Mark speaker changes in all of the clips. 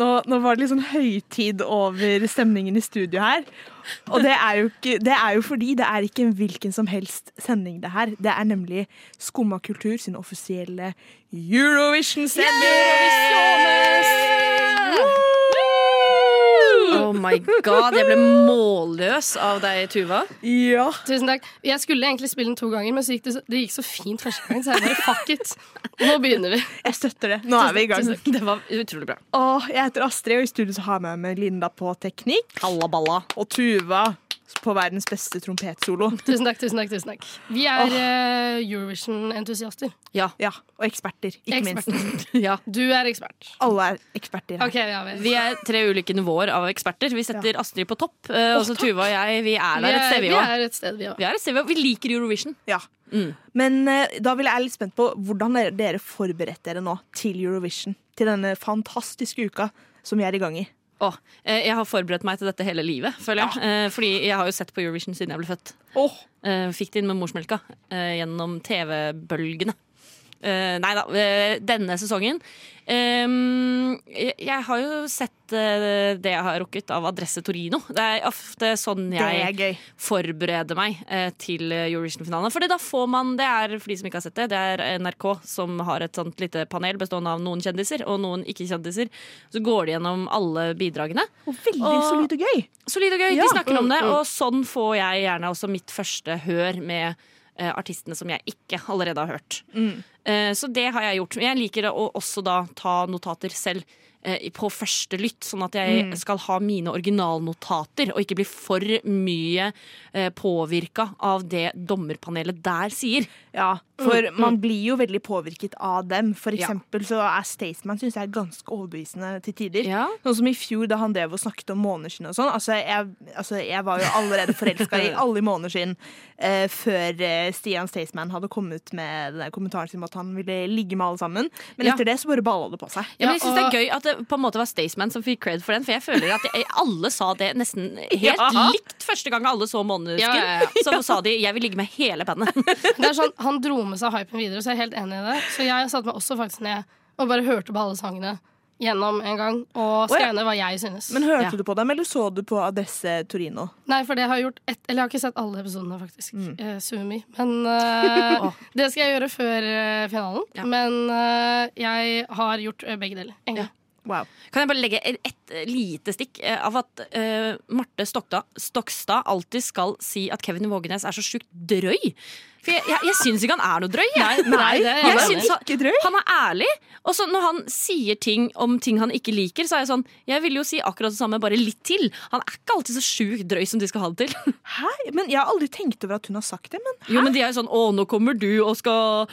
Speaker 1: nå var det litt sånn høytid over stemningen i studio her. Og det er jo, ikke, det er jo fordi det er ikke en hvilken som helst sending det her. Det er nemlig Skumma kultur sin offisielle Eurovision-sending!
Speaker 2: Oh my god, jeg ble målløs av deg, Tuva.
Speaker 1: Ja.
Speaker 3: Tusen takk. Jeg skulle egentlig spille den to ganger, men så gikk det, så, det gikk så fint første gang, så jeg bare fuck it. Nå begynner vi.
Speaker 1: Jeg støtter det. Nå er vi i gang.
Speaker 2: Tusen takk. Det var utrolig bra.
Speaker 1: Og jeg heter Astrid, og i studio så har jeg med meg Linda på teknikk. Og Tuva på verdens beste trompetsolo.
Speaker 3: Tusen takk, tusen takk. tusen takk Vi er eh, Eurovision-entusiaster.
Speaker 2: Ja.
Speaker 1: Ja, og eksperter, ikke minst.
Speaker 3: Eksperter.
Speaker 2: ja.
Speaker 3: Du er ekspert.
Speaker 1: Alle er eksperter her.
Speaker 3: OK, ja vel.
Speaker 2: Vi er tre ulike nivåer av eksperter. Vi setter Astrid på topp. eh, og så Tuva og jeg, vi er der et sted, vi
Speaker 3: vi
Speaker 2: òg.
Speaker 3: er et sted, vi òg.
Speaker 2: Vi er et sted, vi også. Vi liker Eurovision.
Speaker 1: Ja. Men eh, da vil jeg være litt spent på hvordan dere, dere forberedte dere nå til Eurovision. Til denne fantastiske uka som vi er i gang i.
Speaker 2: Å, eh, jeg har forberedt meg til dette hele livet, føler jeg. Eh, Fordi jeg har jo sett på Eurovision siden jeg ble født. Eh, Fikk det inn med morsmelka eh, gjennom TV-bølgene. Eh, Nei da, eh, denne sesongen. Eh, Jeg jeg har jo sett eh, det jeg har rukket av Adresse Torino. Det er ofte sånn
Speaker 1: Det er
Speaker 2: jeg
Speaker 1: gøy.
Speaker 2: forberede meg eh, til Eurovision-finalen. Fordi da får man, det er for de som ikke har sett det, det er NRK som har et sånt lite panel bestående av noen kjendiser og noen ikke-kjendiser. Så går de gjennom alle bidragene.
Speaker 1: Og veldig
Speaker 2: Og-
Speaker 1: solid og gøy.
Speaker 2: Solid og gøy,
Speaker 1: Ja.
Speaker 2: de snakker om det. Og sånn får jeg gjerne også mitt første hør med eh, artistene som jeg ikke allerede har hørt. Eh, så det har jeg gjort. Men Jeg liker å også da ta notater selv eh, i- på første lytt, sånn at jeg skal ha mine originalnotater og ikke bli for mye uh, påvirka av det dommerpanelet der sier.
Speaker 1: Ja, for man blir jo veldig påvirket av dem. For
Speaker 2: Mm, Ja.
Speaker 1: eksempel så er Staysman synes jeg er ganske overbevisende til tider.
Speaker 2: Ja.
Speaker 1: Sånn som i fjor da han drev og snakket om måneskinn og sånn. Altså, jeg, altså, jeg var jo allerede forelska i alle i måneskinn eh, før eh, Stian Staysman hadde kommet med den der kommentaren sin om at han ville ligge med alle sammen. Men
Speaker 2: Ja.
Speaker 1: etter det så bare balla det på seg.
Speaker 2: Ja, men jeg
Speaker 3: Ja,
Speaker 2: synes
Speaker 3: og-
Speaker 2: Det er gøy at det på en måte var Staysman som fikk cred for den. For jeg føler at jeg, alle sa det nesten helt
Speaker 1: Ja.
Speaker 2: likt første gang alle så Måneskin.
Speaker 3: Ja, ja, ja.
Speaker 2: Så sa de 'jeg vil ligge med hele bandet'.
Speaker 3: Det er sånn, Han dro med seg hypen videre, så jeg er helt enig i det. Så jeg satte meg også faktisk ned og bare hørte på alle sangene gjennom en gang og skrev ned hva jeg synes.
Speaker 1: Men hørte
Speaker 2: Ja.
Speaker 1: du på dem, eller så du på Adresse Torino?
Speaker 3: Nei, for det har jeg gjort ett Eller jeg har ikke sett alle episodene, faktisk. Eh, Sumi. Men eh,
Speaker 2: Åh.
Speaker 3: det skal jeg gjøre før eh, finalen.
Speaker 2: Ja.
Speaker 3: Men eh, jeg har gjort eh, begge deler. egentlig.
Speaker 1: Wow.
Speaker 2: Kan jeg bare legge et, et lite stikk eh, av at eh, Marte Stokta, Stokstad alltid skal si at Kevin Vågenes er så sjukt drøy? For jeg, jeg, jeg syns ikke han er noe drøy. Jeg.
Speaker 3: nei, det er
Speaker 2: jeg
Speaker 3: jeg enig i.
Speaker 2: syns han,
Speaker 1: Ikke drøy?
Speaker 2: han er ærlig. Og så når han sier ting om ting han ikke liker, så er jeg sånn Jeg ville jo si akkurat det samme, bare litt til. Han er ikke alltid så sjukt drøy som de skal ha det til.
Speaker 1: Hæ? Men Jeg har aldri tenkt over at hun har sagt det. Men
Speaker 2: Jo, men de er jo sånn 'Å, nå kommer du og skal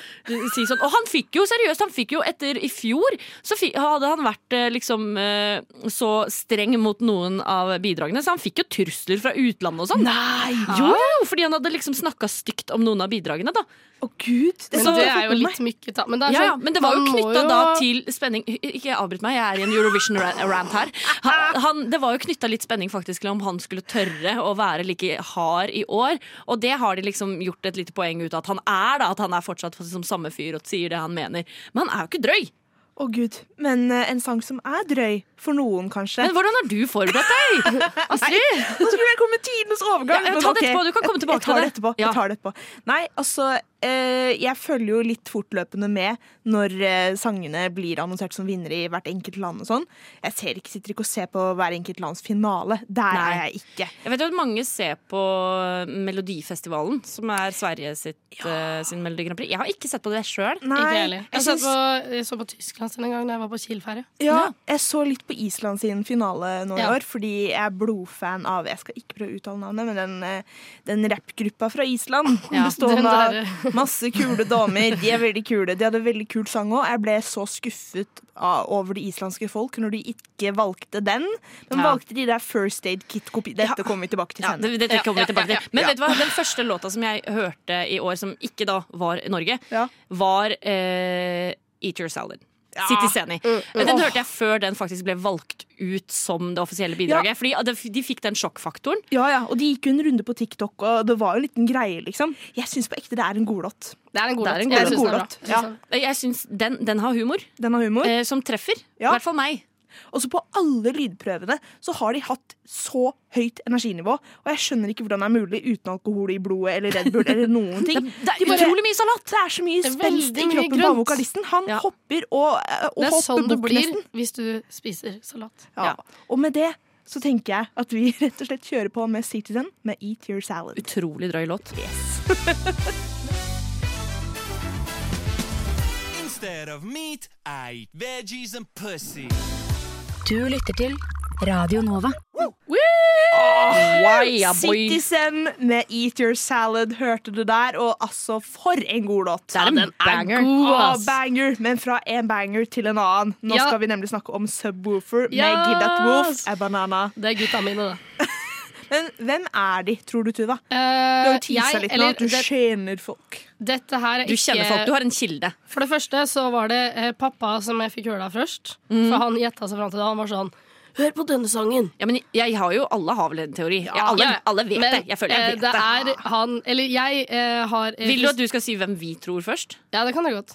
Speaker 2: si sånn'. Og han fikk jo, seriøst, han fikk jo etter i fjor Så fi- hadde han vært eh, liksom eh, så streng mot noen av bidragene, så han fikk jo trusler fra utlandet og sånn.
Speaker 1: nei!
Speaker 2: Jo, jo, fordi han hadde liksom snakka stygt om noen av bidragene, da.
Speaker 1: Å, gud! Det
Speaker 3: Men
Speaker 1: skal
Speaker 3: det
Speaker 1: jeg
Speaker 3: er
Speaker 1: få
Speaker 3: jo
Speaker 1: med meg.
Speaker 3: litt mykket, da. Men det, er
Speaker 2: Ja, ja,
Speaker 3: sånn,
Speaker 2: men det var Altså, jo
Speaker 3: man må
Speaker 2: knytta da til spenning Ikke avbryt meg, jeg er i en Eurovision-rant her. Han, han, det var jo knytta litt spenning faktisk til om han skulle tørre å være like hard i år. Og det har de liksom gjort et lite poeng ut av at han er, da. At han er fortsatt som samme fyr og sier det han mener. Men han er jo ikke drøy.
Speaker 1: Å gud, Men eh, en sang som er drøy, for noen kanskje.
Speaker 2: Men hvordan har du forberedt deg? Astrid?
Speaker 1: Nå skulle jeg komme med tidenes overgang!
Speaker 2: Ja,
Speaker 1: men
Speaker 2: ta
Speaker 1: ok.
Speaker 2: det etterpå, du kan komme tilbake
Speaker 1: jeg tar
Speaker 2: til
Speaker 1: det
Speaker 2: det.
Speaker 1: etterpå.
Speaker 2: Ja.
Speaker 1: Jeg tar det etterpå. Nei, altså eh, Jeg følger jo litt fortløpende med når eh, sangene blir annonsert som vinnere i hvert enkelt land og sånn. Jeg ser ikke, sitter ikke og ser på hver enkelt lands finale. Der
Speaker 2: Nei.
Speaker 1: er jeg ikke.
Speaker 2: Jeg vet jo at mange ser på Melodifestivalen, som er Sverige sitt, eh, sin Melodi Grand Prix. Jeg har ikke sett på det sjøl.
Speaker 1: Nei, altså,
Speaker 3: Ikke heller. Jeg,
Speaker 1: jeg
Speaker 3: så
Speaker 1: syns-
Speaker 3: på, jeg så på Tyskland sin en gang da jeg var på Kiel-ferie.
Speaker 1: Ja, jeg så litt på Island sin finale nå i
Speaker 3: Ja.
Speaker 1: år, fordi jeg er blodfan av Jeg skal ikke prøve å uttale navnet, men den, eh, den rappgruppa fra Island.
Speaker 2: Ja,
Speaker 1: bestående
Speaker 3: den
Speaker 1: av masse kule damer. De er veldig kule. De hadde veldig kul sang òg. Jeg ble så skuffet av, over det islandske folk når de ikke valgte den, men
Speaker 2: Ja.
Speaker 1: valgte de der First Aid Kit-kopi. Dette kommer vi tilbake til
Speaker 2: Ja,
Speaker 1: senere.
Speaker 2: det, dette kommer vi
Speaker 3: Ja, ja,
Speaker 2: tilbake
Speaker 3: ja,
Speaker 2: til. Men vet du hva, den første låta som jeg hørte i år, som ikke da var i Norge,
Speaker 1: Ja.
Speaker 2: var eh, Eat Your Salad.
Speaker 1: Ja.
Speaker 2: City Seni. Men Den hørte jeg før den faktisk ble valgt ut som det offisielle bidraget. Fordi det- de fikk den sjokkfaktoren.
Speaker 1: Ja, ja, og De gikk jo en runde på TikTok, og det var jo en liten greie, liksom. Jeg syns på ekte det er en godlåt.
Speaker 3: Det er en god
Speaker 2: Det er en god
Speaker 3: låt. Jeg synes den er
Speaker 1: låt.
Speaker 2: Eh,
Speaker 3: bra.
Speaker 1: Ja.
Speaker 3: Jeg synes den
Speaker 2: Jeg synes den, den har humor,
Speaker 1: Den har humor.
Speaker 2: eh, som treffer. I
Speaker 1: Ja.
Speaker 2: hvert fall meg.
Speaker 1: Og så på alle lydprøvene så har de hatt så høyt energinivå, og jeg skjønner ikke hvordan det er mulig uten alkohol i blodet eller Red Bull eller noen ting.
Speaker 2: Det er utrolig mye salat!
Speaker 1: Det er så mye
Speaker 3: Det er
Speaker 1: spenst i
Speaker 3: veldig mye
Speaker 1: kroppen på
Speaker 3: grønt.
Speaker 1: vokalisten. Han
Speaker 2: Ja.
Speaker 1: hopper og, eh, og
Speaker 3: Det er
Speaker 1: hopper
Speaker 3: sånn det
Speaker 1: bukk
Speaker 3: blir
Speaker 1: nesten.
Speaker 3: hvis du spiser salat.
Speaker 1: Ja.
Speaker 2: Ja.
Speaker 1: Og med det så tenker jeg at vi rett og slett kjører på med Citizen med Eat Your Salad.
Speaker 2: Utrolig drøy låt.
Speaker 4: Instead of meat, I eat veggies and pussy.
Speaker 5: Du lytter til Radio Nova.
Speaker 2: Waia, boy.
Speaker 1: Citizen med Eat Your Salad hørte du der, og altså for en god låt.
Speaker 2: Det er en
Speaker 3: den er
Speaker 2: banger.
Speaker 3: god,
Speaker 1: Å,
Speaker 3: ass.
Speaker 1: banger, men fra en banger til en annen. Nå
Speaker 3: Ja.
Speaker 1: skal vi nemlig snakke om subwoofer med
Speaker 3: Yes.
Speaker 1: Give That Woof a Banana.
Speaker 3: Det er gutta mine, da.
Speaker 1: Men hvem er de, tror du, Tuva? Du
Speaker 3: Eh,
Speaker 1: har jo teasa
Speaker 3: jeg-
Speaker 1: litt nå
Speaker 3: eller
Speaker 1: at du
Speaker 3: det-
Speaker 1: kjenner folk.
Speaker 3: Dette her er
Speaker 2: Du kjenner
Speaker 3: ikke-
Speaker 2: folk, du har en kilde.
Speaker 3: For det første så var det eh, pappa som jeg fikk høre det av først.
Speaker 2: Mm.
Speaker 3: For han gjetta seg fram til det. Han var sånn Hør på denne sangen!
Speaker 2: Ja, men jeg har jo, Alle har vel en teori. Jeg, alle,
Speaker 3: Ja, ja.
Speaker 2: alle vet
Speaker 3: Men,
Speaker 2: det. Jeg føler jeg
Speaker 3: eh,
Speaker 2: vet
Speaker 3: det.
Speaker 2: det.
Speaker 3: er han Eller jeg eh, har eh,
Speaker 2: Vil du at du skal si hvem vi tror først?
Speaker 3: Ja, det kan jeg godt.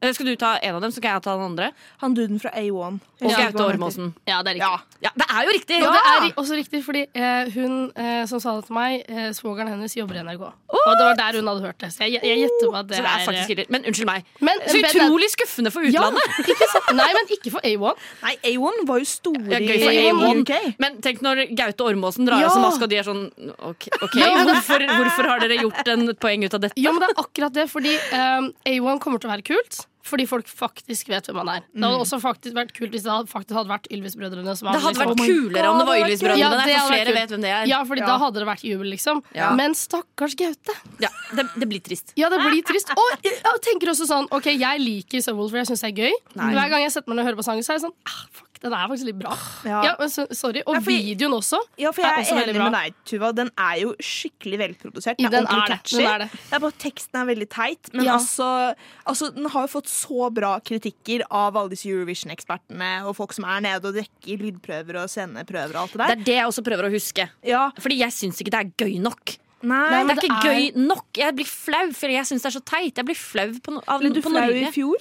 Speaker 2: Eh, Skal du ta en av dem, så kan jeg ta den andre?
Speaker 1: Han duden fra A1.
Speaker 2: Og
Speaker 1: Jeg husker ikke
Speaker 2: Gaute
Speaker 1: hva han heter.
Speaker 2: Ormåsen.
Speaker 3: Ja, det er
Speaker 1: Ja.
Speaker 2: Ja, det er jo riktig!
Speaker 3: Og det er i- også riktig, fordi eh, hun eh, som sa det til meg, eh, svogeren hennes jobber i NRK. Og det var der hun hadde hørt det. Så jeg, jeg gjetter på at det,
Speaker 2: så det er faktisk
Speaker 3: eh,
Speaker 2: riktig. Men unnskyld meg.
Speaker 3: Men-
Speaker 2: så
Speaker 3: men-
Speaker 2: utrolig skuffende for
Speaker 3: ja,
Speaker 2: utlandet!
Speaker 3: ikke sant? Nei, men ikke for A1.
Speaker 1: Nei, A1 var jo store
Speaker 2: Ja, gøy for
Speaker 1: i
Speaker 2: A1.
Speaker 1: UK.
Speaker 2: Men tenk når Gaute Ormåsen drar av
Speaker 1: Ja.
Speaker 2: seg maska, og de er sånn OK, ok, hvorfor, hvorfor har dere gjort en poeng ut av dette?
Speaker 3: Jo, men det er akkurat det, fordi ehm, A1 kommer til å være kult. Fordi folk faktisk vet hvem han er. Det
Speaker 1: Mm.
Speaker 3: hadde også faktisk vært kult hvis det hadde, faktisk hadde vært Ylvis-brødrene. som
Speaker 2: Det
Speaker 3: hadde
Speaker 2: hadde
Speaker 3: liksom-
Speaker 2: vært kulere om det var Ylvis-brødrene.
Speaker 3: Ja,
Speaker 2: der, for
Speaker 3: det hadde vært
Speaker 2: flere
Speaker 3: kult.
Speaker 2: vet hvem
Speaker 1: Oh
Speaker 2: det er.
Speaker 3: Ja, fordi da hadde det vært jubel, liksom.
Speaker 2: Ja.
Speaker 3: Men stakkars Gaute.
Speaker 2: Ja, det, det blir trist.
Speaker 3: Ja, det blir trist. Og jeg tenker også sånn OK, jeg liker Subwoolfer, jeg syns det er gøy.
Speaker 2: Nei.
Speaker 3: Hver gang jeg setter meg ned og hører på sangen, så er jeg sånn ah, Fuck, den er faktisk litt bra.
Speaker 1: Ja.
Speaker 3: Ja, men så- sorry. Og
Speaker 1: Ja, fordi-
Speaker 3: videoen også.
Speaker 1: Ja, for
Speaker 3: er
Speaker 1: jeg
Speaker 3: også
Speaker 1: er
Speaker 3: veldig
Speaker 1: enig
Speaker 3: bra.
Speaker 1: med deg, Tuva. Den er jo skikkelig velprodusert. Den,
Speaker 3: Den
Speaker 1: er ordentlig
Speaker 3: er det,
Speaker 1: catchy.
Speaker 3: den er det.
Speaker 1: Det er bare at teksten er veldig teit. Men
Speaker 3: Ja.
Speaker 1: altså, altså, den har jo fått så bra kritikker av alle disse Eurovision-ekspertene og folk som er nede og dekker lydprøver og sceneprøver og alt det
Speaker 2: Det
Speaker 1: der.
Speaker 2: er det jeg også prøver å huske.
Speaker 1: Ja,
Speaker 2: Fordi jeg syns ikke det er gøy nok.
Speaker 1: nei,
Speaker 2: det
Speaker 3: men
Speaker 2: er
Speaker 3: det
Speaker 2: ikke
Speaker 3: er-
Speaker 2: gøy nok. Jeg blir flau, for jeg syns det er så teit. Jeg blir flau på, no av,
Speaker 1: Ble du
Speaker 2: på
Speaker 1: flau i
Speaker 2: Norge.
Speaker 1: fjor?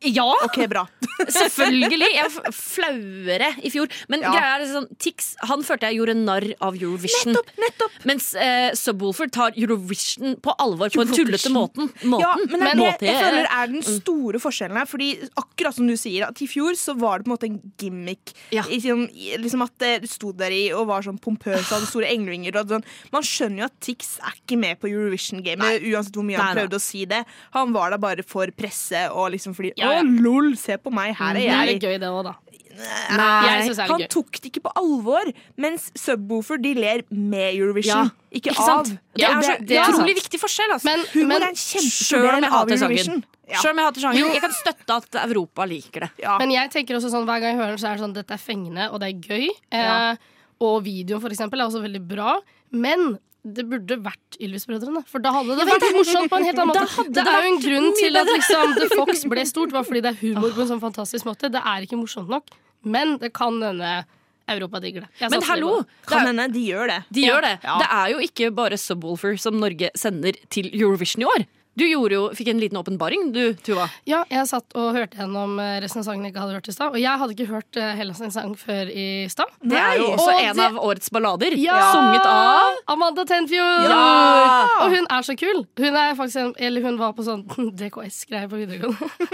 Speaker 2: Ja,
Speaker 1: OK, bra.
Speaker 2: selvfølgelig! Jeg var f- flauere i fjor. Men
Speaker 1: Ja.
Speaker 2: greia er sånn, Tix han følte jeg gjorde narr av Eurovision.
Speaker 1: Nettopp! nettopp
Speaker 2: Mens eh, Subwoolfer tar Eurovision på alvor på en tullete måten. måten.
Speaker 1: ja, men det er det
Speaker 2: Måte-
Speaker 1: jeg føler er den store forskjellen her. Fordi akkurat som du sier, at i fjor så var det på en måte en gimmick.
Speaker 2: Ja.
Speaker 1: I sånn- i- liksom At det sto der i og var sånn pompøs og hadde store englevinger. og Sånn. Man skjønner jo at Tix er ikke med på Eurovision-gamet, uansett hvor mye han
Speaker 2: Nei, nei.
Speaker 1: prøvde å si det. Han var der bare for presse og liksom fordi
Speaker 3: Ja, Mhm. ja.
Speaker 1: Å, lol, se på meg, her
Speaker 3: Det er
Speaker 1: er jeg.
Speaker 3: litt gøy, det òg, da. Jeg
Speaker 2: Nei.
Speaker 3: synes det er
Speaker 1: Han
Speaker 3: litt gøy.
Speaker 1: tok det ikke på alvor, mens Subwoofer de ler med Eurovision,
Speaker 2: Ja.
Speaker 1: ikke,
Speaker 2: Ikke sant?
Speaker 1: av.
Speaker 2: Det
Speaker 3: Ja,
Speaker 2: er så
Speaker 3: det- det er
Speaker 2: utrolig
Speaker 3: sant.
Speaker 2: viktig forskjell. Altså.
Speaker 3: Men,
Speaker 1: Humor
Speaker 3: men
Speaker 1: er en
Speaker 2: Selv om
Speaker 1: kjempestor
Speaker 2: jeg
Speaker 1: del av
Speaker 2: hater sangen.
Speaker 1: Eurovision. Ja.
Speaker 2: Selv om jeg hater sangen. Jeg kan støtte at Europa liker det.
Speaker 1: Ja.
Speaker 3: Men jeg tenker også sånn, hver gang jeg hører den, så er det sånn dette er fengende, og det er gøy.
Speaker 2: Ja.
Speaker 3: Eh, og videoen, for eksempel, er også veldig bra. Men det burde vært Ylvis-brødrene. For da hadde det vært morsomt på en helt annen
Speaker 2: Da
Speaker 3: måte.
Speaker 2: hadde
Speaker 3: Det
Speaker 2: det
Speaker 3: er jo en
Speaker 2: vært
Speaker 3: grunn
Speaker 2: mye
Speaker 3: til at
Speaker 2: bedre.
Speaker 3: liksom, The Fox ble stort, var fordi det er humor på en sånn fantastisk måte. Det er ikke morsomt nok. Men det kan hende Europa digger det. Jeg
Speaker 2: Men
Speaker 3: satser
Speaker 2: hallo!
Speaker 3: på det.
Speaker 2: det er-
Speaker 1: Kan hende de gjør det.
Speaker 2: De gjør det.
Speaker 1: Ja.
Speaker 2: Det er jo ikke bare Subwoolfer som Norge sender til Eurovision i år. Du gjorde jo, fikk en liten åpenbaring, du, Tuva.
Speaker 3: Ja, jeg satt og hørte gjennom eh, resten av sangen jeg ikke hadde hørt i stad. Og jeg hadde ikke hørt eh, Hellas sin sang før i stad.
Speaker 2: Det er jo også
Speaker 3: Og
Speaker 2: en
Speaker 3: det-
Speaker 2: av årets ballader.
Speaker 3: Ja!
Speaker 2: Sunget av
Speaker 3: Amanda Tenfjord!
Speaker 2: Ja!
Speaker 3: Og hun er så kul. Hun, er faktisk en, eller hun var på sånn DKS-greie på videregående.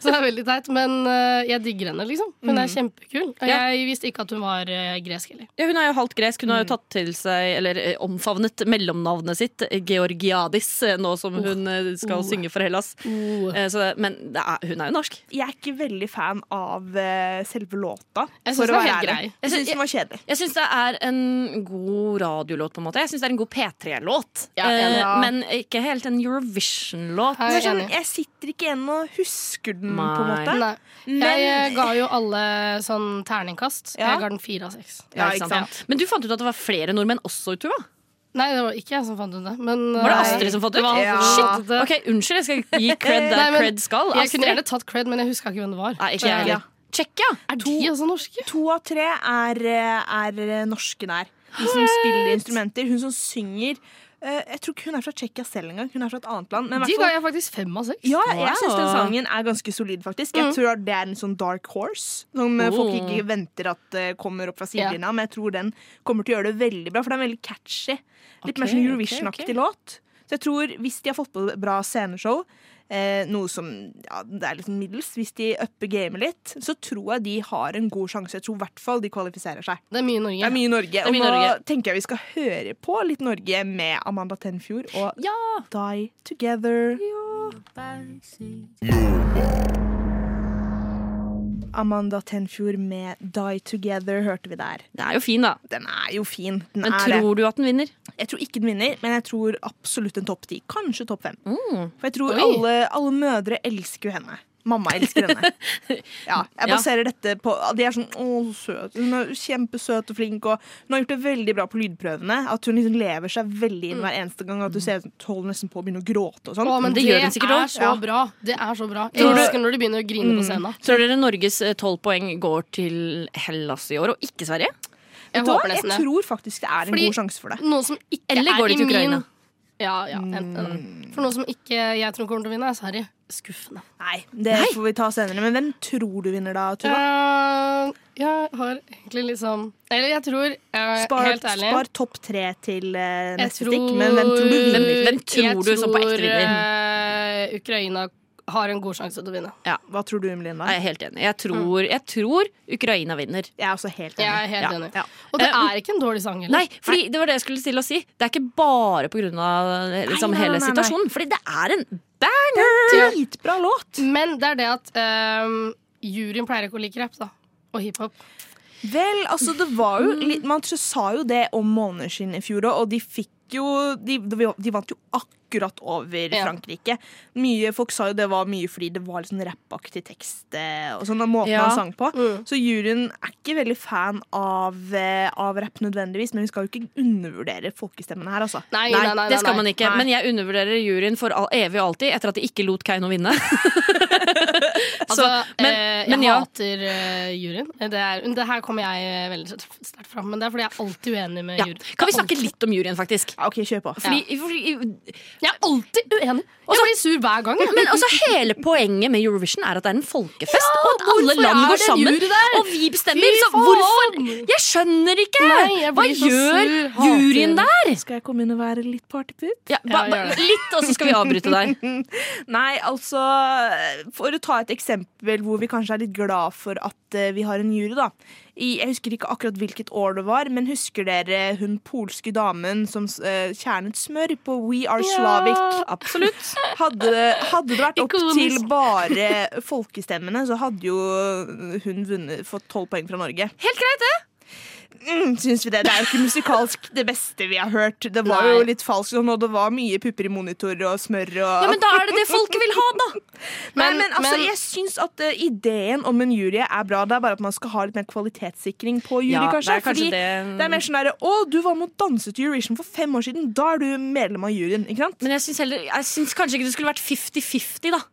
Speaker 3: så det er veldig teit. Men eh, jeg digger henne, liksom. Hun er kjempekul. Og
Speaker 2: Mm. Ja.
Speaker 3: jeg visste ikke at hun var eh, gresk heller.
Speaker 2: ja, Hun er jo halvt gresk. Hun har jo tatt til seg, eller eh, omfavnet mellomnavnet sitt, eh, Georgiadis, eh, nå som
Speaker 3: Oh.
Speaker 2: hun eh, skal synge for Hellas. Eh, Så, det- men det er, hun er jo norsk.
Speaker 1: jeg er ikke veldig fan av eh, selve låta.
Speaker 3: Jeg synes
Speaker 1: for å
Speaker 3: den var
Speaker 1: være
Speaker 3: helt
Speaker 1: ærlig.
Speaker 3: grei.
Speaker 1: Jeg syns den var kjedelig.
Speaker 2: Jeg syns det er en god radiolåt, på en måte. Jeg syns det er en god P3-låt.
Speaker 3: Ja, enig.
Speaker 2: Eh, men ikke helt en Eurovision-låt.
Speaker 3: Jeg
Speaker 1: Jeg,
Speaker 3: er
Speaker 1: sånn,
Speaker 3: enig.
Speaker 1: jeg sitter ikke igjen og husker den, på en
Speaker 2: Nei.
Speaker 1: måte.
Speaker 3: Nei. Jeg eh, ga jo alle sånn terningkast.
Speaker 1: Ja.
Speaker 3: Jeg ga den fire av seks.
Speaker 1: Ja, ikke sant?
Speaker 2: Men du fant ut at det var flere nordmenn også, Tuva?
Speaker 3: Nei, det var ikke jeg som fant ut det. Men,
Speaker 2: Var det
Speaker 3: eh,
Speaker 2: Astrid som fant ut?
Speaker 3: det var Astrid
Speaker 1: Ja.
Speaker 3: som
Speaker 2: Shit!
Speaker 3: fant ut det.
Speaker 2: Ok, Unnskyld, jeg skal gi cred der
Speaker 3: Nei, men
Speaker 2: cred skal.
Speaker 3: Jeg kunne
Speaker 2: Astrid?
Speaker 3: gjerne tatt cred, men jeg huska ikke hvem det var.
Speaker 2: Nei, ikke jeg
Speaker 3: Eh,
Speaker 2: heller. Tsjekkia!
Speaker 3: Er de også altså norske?
Speaker 1: To av tre er, eh, er eh, norske der. de som spiller instrumenter. Hun som synger eh, Jeg tror ikke hun er fra Tsjekkia selv engang. Hun er fra et annet land. Men i
Speaker 3: De
Speaker 1: hvert
Speaker 3: ga
Speaker 1: fall,
Speaker 3: jeg faktisk fem av seks.
Speaker 1: ja, jeg syns den
Speaker 2: Wow. Mm.
Speaker 1: sangen er ganske solid, faktisk. Jeg tror det er en sånn dark horse som eh, folk
Speaker 2: Oh.
Speaker 1: ikke venter at eh, kommer opp fra sidelinja, men jeg tror den kommer til å gjøre det veldig bra, for den er veldig catchy. Litt mer
Speaker 2: Ok,
Speaker 1: sånn
Speaker 2: ok,
Speaker 1: Eurovision-aktig
Speaker 2: ok.
Speaker 1: låt. Så jeg tror hvis de har fått på bra sceneshow, eh, noe som ja, det er litt sånn middels, hvis de upper gamet litt, så tror jeg de har en god sjanse. Jeg tror i hvert fall de kvalifiserer seg.
Speaker 3: Det er mye i Norge.
Speaker 1: Det er mye Norge. Og
Speaker 2: mye
Speaker 1: nå
Speaker 2: Norge.
Speaker 1: tenker jeg vi skal høre på litt Norge med Amanda Tenfjord og
Speaker 2: Ja!
Speaker 1: Die Together. Amanda Tenfjord med Die Together hørte vi der.
Speaker 2: Det er jo fin, da.
Speaker 1: Den er jo fin. Den
Speaker 2: Men
Speaker 1: er
Speaker 2: tror du at den vinner?
Speaker 1: det. Jeg tror ikke den vinner, men jeg tror absolutt en topp ti. Kanskje topp fem.
Speaker 2: Mm.
Speaker 1: For jeg tror
Speaker 3: Oi.
Speaker 1: alle, alle mødre elsker jo henne. Mamma elsker henne. Ja, jeg
Speaker 2: Ja.
Speaker 1: baserer dette på De er sånn å, så søt. Hun er kjempesøt og flink. Og hun har gjort det veldig bra på lydprøvene. At hun liksom lever seg veldig
Speaker 2: Mm.
Speaker 1: inn hver eneste gang. At du ser hun holder nesten på å begynne å gråte og sånn.
Speaker 3: Å, men
Speaker 2: Det
Speaker 3: det,
Speaker 2: gjør den sikkert
Speaker 3: er
Speaker 2: også.
Speaker 3: så
Speaker 1: Ja.
Speaker 3: bra. Det er så bra. Jeg
Speaker 1: Tror du-
Speaker 3: elsker når de begynner å grine
Speaker 2: Mm.
Speaker 3: på scenen.
Speaker 2: Tror dere Norges eh, tolv poeng går til Hellas i år, og ikke Sverige?
Speaker 3: Jeg
Speaker 1: da,
Speaker 3: håper nesten
Speaker 1: jeg
Speaker 3: det.
Speaker 1: tror faktisk det er en
Speaker 3: Fordi-
Speaker 1: god sjanse for det.
Speaker 3: Noe som ikke
Speaker 2: Eller går
Speaker 3: er
Speaker 2: de til
Speaker 3: i min
Speaker 2: Ukraina? Mm.
Speaker 3: Ja, ja, enten det. For noe som ikke jeg tror kommer til å vinne, er Sverige. Skuffende.
Speaker 1: Nei, det
Speaker 2: Nei.
Speaker 1: får vi ta senere. Men hvem tror du vinner da, Tuva?
Speaker 3: Eh, jeg har egentlig liksom Eller jeg tror, eh,
Speaker 1: Spar,
Speaker 3: helt ærlig
Speaker 1: spar topp tre til eh,
Speaker 3: Jeg
Speaker 1: neste stikk, men hvem tror du
Speaker 2: Hvem-
Speaker 1: vinner?
Speaker 2: hvem tror
Speaker 3: jeg
Speaker 2: du som på ekte
Speaker 3: tror,
Speaker 2: vinner?
Speaker 3: eh, Ukraina har en god sjanse til å vinne.
Speaker 1: Hva tror du, Emelina?
Speaker 2: Jeg er helt enig. Jeg tror, jeg tror Ukraina vinner.
Speaker 1: Jeg er også helt
Speaker 3: Jeg
Speaker 1: enig.
Speaker 3: er helt
Speaker 2: Ja,
Speaker 3: enig.
Speaker 1: ja.
Speaker 3: Og det
Speaker 2: Eh,
Speaker 3: er ikke en dårlig sang heller.
Speaker 2: Nei, fordi det var det jeg skulle til å si. Det er ikke bare på grunn av eh, liksom,
Speaker 1: nei, nei,
Speaker 2: hele
Speaker 1: nei.
Speaker 2: situasjonen. Fordi det er en bang!
Speaker 1: Dritbra låt!
Speaker 3: Men det er det at eh, juryen pleier ikke å like rap da og hiphop.
Speaker 1: Vel, altså det var
Speaker 3: Mm.
Speaker 1: jo litt Man sa jo det om Måneskinn i fjor òg, og de fikk jo De, de vant jo akkurat over
Speaker 3: Ja.
Speaker 1: Frankrike. Mye, folk sa jo det var mye fordi det var litt sånn rappaktig tekst eh, og sånn, og måten
Speaker 2: Ja.
Speaker 1: han sang på.
Speaker 3: Mm.
Speaker 1: Så juryen er ikke veldig fan av, eh, av rapp nødvendigvis, men vi skal jo ikke undervurdere folkestemmene her, altså.
Speaker 3: Nei,
Speaker 2: Nei, det skal man ikke.
Speaker 1: Nei.
Speaker 2: Men jeg undervurderer juryen for all, evig og alltid etter at de ikke lot Keiino vinne.
Speaker 3: Altså,
Speaker 2: men-
Speaker 3: eh, jeg
Speaker 2: men ja.
Speaker 3: hater eh, juryen. Det, er, det her kommer jeg eh, veldig sterkt fram, men det er fordi jeg er alltid uenig med
Speaker 2: Ja.
Speaker 3: juryen.
Speaker 2: Kan vi snakke litt om juryen, faktisk?
Speaker 1: Ja, OK, kjør på.
Speaker 2: Fordi, fordi,
Speaker 3: Jeg er alltid uenig! Jeg blir sur hver gang. jeg.
Speaker 2: men altså, hele poenget med Eurovision er at det er en folkefest, og at alle
Speaker 3: hvorfor
Speaker 2: land
Speaker 3: er
Speaker 2: går
Speaker 3: det en
Speaker 2: sammen.
Speaker 3: jury der?
Speaker 2: Og vi bestemmer.
Speaker 3: Fy
Speaker 2: Så
Speaker 3: faen!
Speaker 2: hvorfor? Jeg skjønner ikke!
Speaker 3: Nei, jeg
Speaker 2: Hva
Speaker 3: blir så
Speaker 2: gjør
Speaker 3: sur. Hater
Speaker 2: juryen
Speaker 3: juryen.
Speaker 2: der?
Speaker 1: Skal jeg komme inn og være litt partyputt?
Speaker 2: Ja, ba,
Speaker 3: Ja,
Speaker 2: ba,
Speaker 3: gjør det.
Speaker 2: litt, og så skal vi avbryte der.
Speaker 1: Nei, altså For å ta et eksempel hvor vi kanskje er litt glad for at eh, vi har en jury, da. I, jeg husker ikke akkurat hvilket år det var, men husker dere hun polske damen som eh, kjernet smør på We Are Slavic?
Speaker 2: Absolutt.
Speaker 1: Hadde, hadde det vært opp
Speaker 3: Ikonisk.
Speaker 1: til bare folkestemmene, så hadde jo hun vunnet, fått tolv poeng fra Norge.
Speaker 2: Helt greit, det.
Speaker 1: Mm, syns vi det. Det er jo ikke musikalsk det beste vi har hørt. Det var
Speaker 3: Nei.
Speaker 1: jo litt falskt, og det var mye pupper i monitor og smør og
Speaker 2: Ja, Men da er det det folket vil ha, da.
Speaker 1: Men,
Speaker 3: Men-
Speaker 1: men altså,
Speaker 3: men-
Speaker 1: jeg syns at eh, ideen om en jury er bra. Det er bare at man skal ha litt mer kvalitetssikring på jury,
Speaker 2: Ja, det
Speaker 1: kanskje.
Speaker 2: er kanskje
Speaker 1: fordi
Speaker 2: det-
Speaker 1: det er mer sånn derre Å, du var med og danset i Eurovision for fem år siden. Da er du medlem av juryen, ikke sant?
Speaker 2: Men jeg syns, heller, jeg syns kanskje ikke det skulle vært 50-50, da.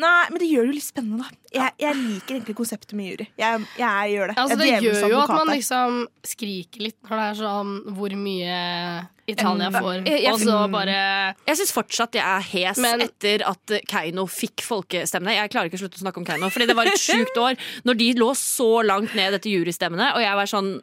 Speaker 1: Nei, men det gjør det jo litt spennende, da. Jeg, jeg liker egentlig konseptet med jury. Jeg, jeg gjør det.
Speaker 3: Altså, det
Speaker 1: jeg er djevelens
Speaker 3: gjør jo at
Speaker 1: advokat
Speaker 3: man
Speaker 1: her.
Speaker 3: liksom skriker litt når det er sånn hvor mye Italia
Speaker 2: Mm.
Speaker 3: får,
Speaker 2: Jeg- jeg-
Speaker 3: og så bare
Speaker 2: Jeg syns fortsatt jeg er hes
Speaker 3: Men-
Speaker 2: etter at eh, Keiino fikk folkestemmene. Jeg klarer ikke å slutte å snakke om Keiino, Fordi det var et sjukt år når de lå så langt ned dette jurystemmene, og jeg var sånn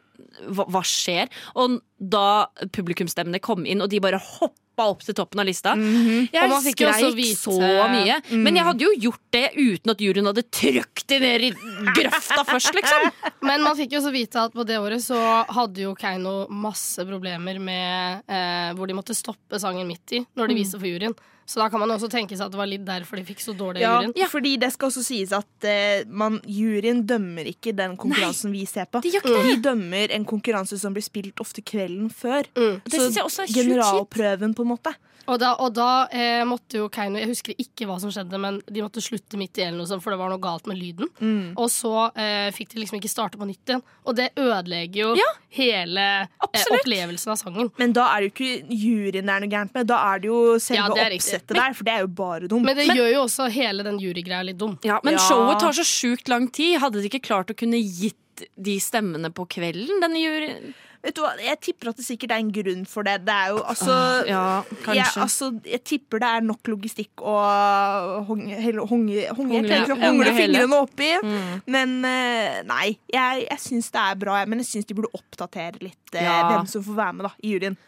Speaker 2: hva, hva skjer? Og da publikumsstemmene kom inn, og de bare hoppa opp til toppen av lista. Jeg
Speaker 3: Og man fikk jo også
Speaker 2: skreik
Speaker 3: vite-
Speaker 2: så mye. Men jeg hadde jo gjort det uten at juryen hadde trykt de ned i grøfta først, liksom.
Speaker 3: Men man fikk jo også vite at på det året så hadde jo Keiino masse problemer med eh, hvor de måtte stoppe sangen midt i når de viste for juryen. Så da kan man jo også tenke seg at det var litt derfor de fikk så dårlig
Speaker 1: ja,
Speaker 3: juryen.
Speaker 1: fordi det skal også sies at eh, man, juryen dømmer ikke den konkurransen vi ser på.
Speaker 2: de gjør ikke
Speaker 1: De dømmer en konkurranse som blir spilt ofte kvelden før.
Speaker 2: Mm. Det synes jeg også er sjukt kjipt.
Speaker 1: generalprøven, på en måte.
Speaker 3: Og da, og da eh, måtte jo Keiino Jeg husker ikke hva som skjedde, men de måtte slutte midt i, eller noe sånt, for det var noe galt med lyden. Og så eh, fikk de liksom ikke starte på nytt igjen. Og det ødelegger jo
Speaker 2: Ja.
Speaker 3: hele eh,
Speaker 2: Absolutt.
Speaker 3: opplevelsen av sangen.
Speaker 1: Men da er det jo ikke juryen det er noe gærent med, da er det jo selve
Speaker 3: Ja, det er riktig.
Speaker 1: oppsettet der, for det er jo bare dumt.
Speaker 3: Men det gjør jo også hele den jurygreia litt dum.
Speaker 2: Ja, men
Speaker 1: Ja.
Speaker 2: showet tar så sjukt lang tid. Hadde de ikke klart å kunne gitt de stemmene på kvelden? Denne juryen
Speaker 1: Vet du hva, Jeg tipper at det sikkert er en grunn for det. Det er jo altså
Speaker 2: Ja,
Speaker 1: jeg,
Speaker 2: kanskje.
Speaker 1: altså, jeg tipper det er nok logistikk å honge, hele- honge, honge, jeg
Speaker 2: Hongle,
Speaker 1: klarer ikke å
Speaker 2: ja,
Speaker 1: hongle
Speaker 2: det hele.
Speaker 1: fingrene oppi.
Speaker 3: Mm.
Speaker 1: Men eh, nei, jeg, jeg syns det er bra. jeg, Men jeg syns de burde oppdatere litt eh,
Speaker 2: Ja.
Speaker 1: hvem som får være med da, i juryen.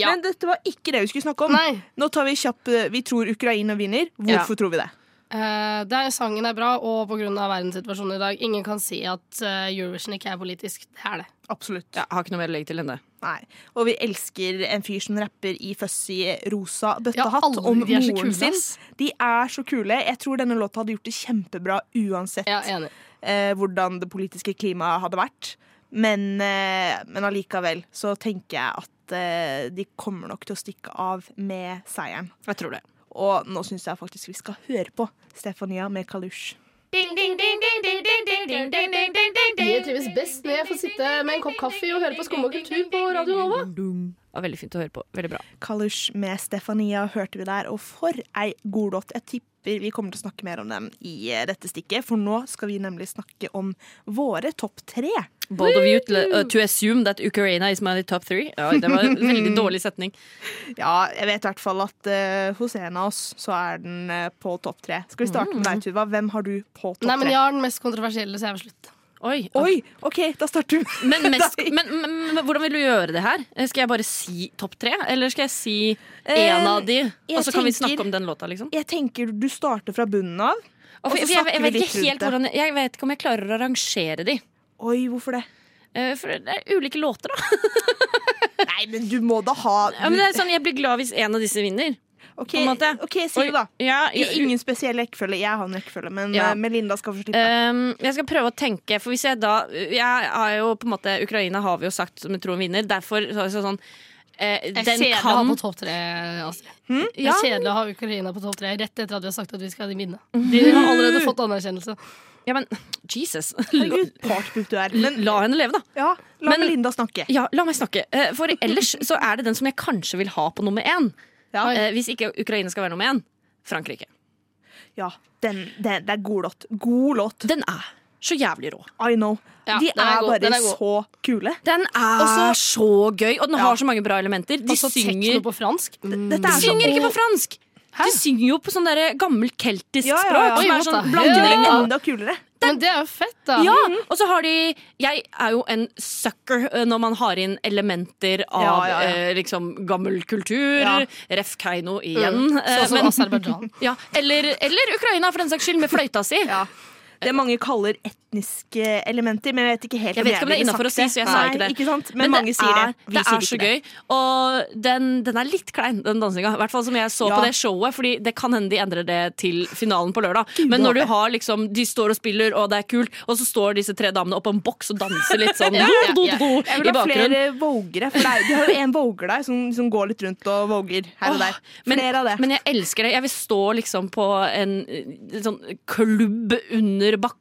Speaker 3: Ja.
Speaker 1: Men dette var ikke det vi skulle snakke om.
Speaker 3: Nei.
Speaker 1: Nå tar Vi kjapp, eh, vi tror Ukraina vinner. Hvorfor tror vi det?
Speaker 3: Eh, det er, sangen er bra, og pga. verdenssituasjonen i dag. Ingen kan si at eh, Eurovision ikke er politisk. Det er det.
Speaker 1: Absolutt.
Speaker 2: Jeg har ikke noe mer å legge til enn det.
Speaker 1: Nei. Og vi elsker en fyr som rapper i fussy rosa
Speaker 3: Ja,
Speaker 1: bøttehatt
Speaker 3: alle
Speaker 1: om
Speaker 3: de er så
Speaker 1: moren
Speaker 3: kule,
Speaker 1: sin.
Speaker 3: ass.
Speaker 1: De er så kule. Jeg tror denne låta hadde gjort det kjempebra uansett
Speaker 3: Jeg er enig.
Speaker 1: eh, hvordan det politiske klimaet hadde vært. Men, eh, men allikevel så tenker jeg at eh, de kommer nok til å stikke av med seieren.
Speaker 2: Jeg tror det.
Speaker 1: Og nå syns jeg faktisk vi skal høre på Stefania med Kalush.
Speaker 3: Jeg trives best når jeg får sitte med en kopp kaffe og høre på Skum og kultur på Radio Nova.
Speaker 2: Det var veldig fint å høre på. Veldig bra.
Speaker 1: Kalush med Stefania hørte vi der, og for ei god låt. Jeg tipper vi kommer til å snakke mer om dem i eh, dette stikket, for nå skal vi nemlig snakke om våre topp tre.
Speaker 2: Bold of you to, uh, to assume that Ukraina is my top three. Ja, det var en veldig dårlig setning.
Speaker 1: Ja, jeg vet i hvert fall at eh, hos en av oss så er den eh, på topp tre. Skal vi starte med deg, Tuva? Hvem har du på topp
Speaker 3: Nei, men
Speaker 1: tre?
Speaker 3: jeg har den mest kontroversielle, så jeg vil slutte.
Speaker 2: Oi,
Speaker 1: Oi, OK, da starter du.
Speaker 2: Men, mest, men, men, men hvordan vil du gjøre det her? Eh, Skal jeg bare si topp tre, eller skal jeg si én av de?
Speaker 1: jeg
Speaker 2: Og så kan vi
Speaker 1: tenker-
Speaker 2: snakke om den låta, liksom?
Speaker 1: Jeg tenker du starter fra bunnen av.
Speaker 2: Og for,
Speaker 1: så
Speaker 2: for jeg,
Speaker 1: snakker
Speaker 2: jeg,
Speaker 1: vi
Speaker 2: vet
Speaker 1: litt
Speaker 2: ikke
Speaker 1: rundt
Speaker 2: helt
Speaker 1: det.
Speaker 2: hvordan, jeg vet ikke om jeg klarer å rangere de.
Speaker 1: Oi, hvorfor det?
Speaker 2: Eh, For det er ulike låter, da.
Speaker 1: Nei, men du må da ha
Speaker 2: Ja, men det er sånn, Jeg blir glad hvis en av disse vinner.
Speaker 1: OK,
Speaker 2: på en måte.
Speaker 1: ok, si
Speaker 2: Oi,
Speaker 1: det, da.
Speaker 2: Ja,
Speaker 1: I
Speaker 2: jeg,
Speaker 1: ingen spesiell rekkefølge. Jeg har en rekkefølge, men
Speaker 2: Ja.
Speaker 1: eh, Melinda skal få slippe.
Speaker 2: Ehm, jeg skal prøve å tenke, for hvis jeg da Jeg er jo på en måte Ukraina har vi jo sagt som jeg tror vinner, derfor så, så sånn eh,
Speaker 3: Det
Speaker 2: Den
Speaker 3: er kjedelig å ha
Speaker 2: kan
Speaker 3: på topp tre, Astrid. Det
Speaker 2: ja,
Speaker 3: er kjedelig å ha Ukraina på topp tre rett etter at vi har sagt at vi skal vinne. De har allerede fått anerkjennelse.
Speaker 2: ja, men Jesus.
Speaker 1: Herregud, partbult du er. Men
Speaker 2: La henne leve, da.
Speaker 1: ja, la
Speaker 2: Men-
Speaker 1: Melinda snakke.
Speaker 2: Ja, la meg snakke. Eh, For ellers så er det den som jeg kanskje vil ha på nummer én.
Speaker 1: Ja.
Speaker 2: Eh, Hvis ikke Ukraina skal være nummer én. Frankrike.
Speaker 1: Ja, den, den, det er god låt. God låt.
Speaker 2: Den er så jævlig rå.
Speaker 1: I know.
Speaker 3: Ja,
Speaker 1: De
Speaker 3: den er
Speaker 1: er,
Speaker 3: god, den
Speaker 1: bare
Speaker 3: er god.
Speaker 1: så kule.
Speaker 2: Den er
Speaker 1: Også-
Speaker 2: så gøy, og den har så mange bra elementer. De
Speaker 3: Og så
Speaker 2: synger
Speaker 3: Altså, tekno på fransk. Mm.
Speaker 1: Dette
Speaker 2: De
Speaker 1: er
Speaker 2: synger ikke
Speaker 1: så,
Speaker 2: på fransk! De synger jo på sånn derre gammelt keltisk
Speaker 1: Ja, ja, ja.
Speaker 2: språk. Som
Speaker 3: Oi,
Speaker 2: er
Speaker 3: what
Speaker 2: sånn
Speaker 3: the
Speaker 1: og det
Speaker 2: blanding
Speaker 1: blir
Speaker 2: av
Speaker 1: enda kulere.
Speaker 3: Men det er jo fett, da.
Speaker 2: Ja, og så har de Jeg er jo en sucker eh, når man har inn elementer av
Speaker 1: Ja, ja, ja.
Speaker 2: Eh, liksom gammel kultur.
Speaker 1: Ja. Mm.
Speaker 2: Ref Keiino igjen. eh,
Speaker 3: Sånn som
Speaker 2: men-
Speaker 1: altså-
Speaker 3: Aserbajdsjan.
Speaker 2: ja, eller, eller Ukraina, for den saks skyld, med fløyta si.
Speaker 1: Det mange kaller etniske elementer, men jeg vet ikke helt
Speaker 2: Jeg vet ikke om det er
Speaker 1: ville
Speaker 2: innafor å
Speaker 1: sagt
Speaker 2: si, så jeg sa
Speaker 1: Nei,
Speaker 2: ikke det.
Speaker 1: Ikke sant? Men, mange sier
Speaker 2: er,
Speaker 1: det. Vi
Speaker 2: det
Speaker 1: sier
Speaker 2: er så
Speaker 1: ikke det.
Speaker 2: gøy. Og den, den er litt klein, den dansinga. I hvert fall som jeg så
Speaker 1: Ja.
Speaker 2: på det showet, Fordi det kan hende de endrer det til finalen på lørdag. Men når du har liksom De står og spiller, og det er kult, og så står disse tre damene oppå en boks og danser litt sånn
Speaker 3: Ja, ja,
Speaker 2: do, do,
Speaker 3: ja.
Speaker 2: do, do,
Speaker 1: Jeg vil
Speaker 2: i
Speaker 1: ha
Speaker 2: bakgrunnen.
Speaker 1: flere vogere. For det er, de har jo en voger der som, som går litt rundt og voger her og der.
Speaker 2: Åh,
Speaker 1: Flere
Speaker 2: men,
Speaker 1: av det.
Speaker 2: Men jeg elsker det. Jeg vil stå liksom på en eh, sånn klubb under bakken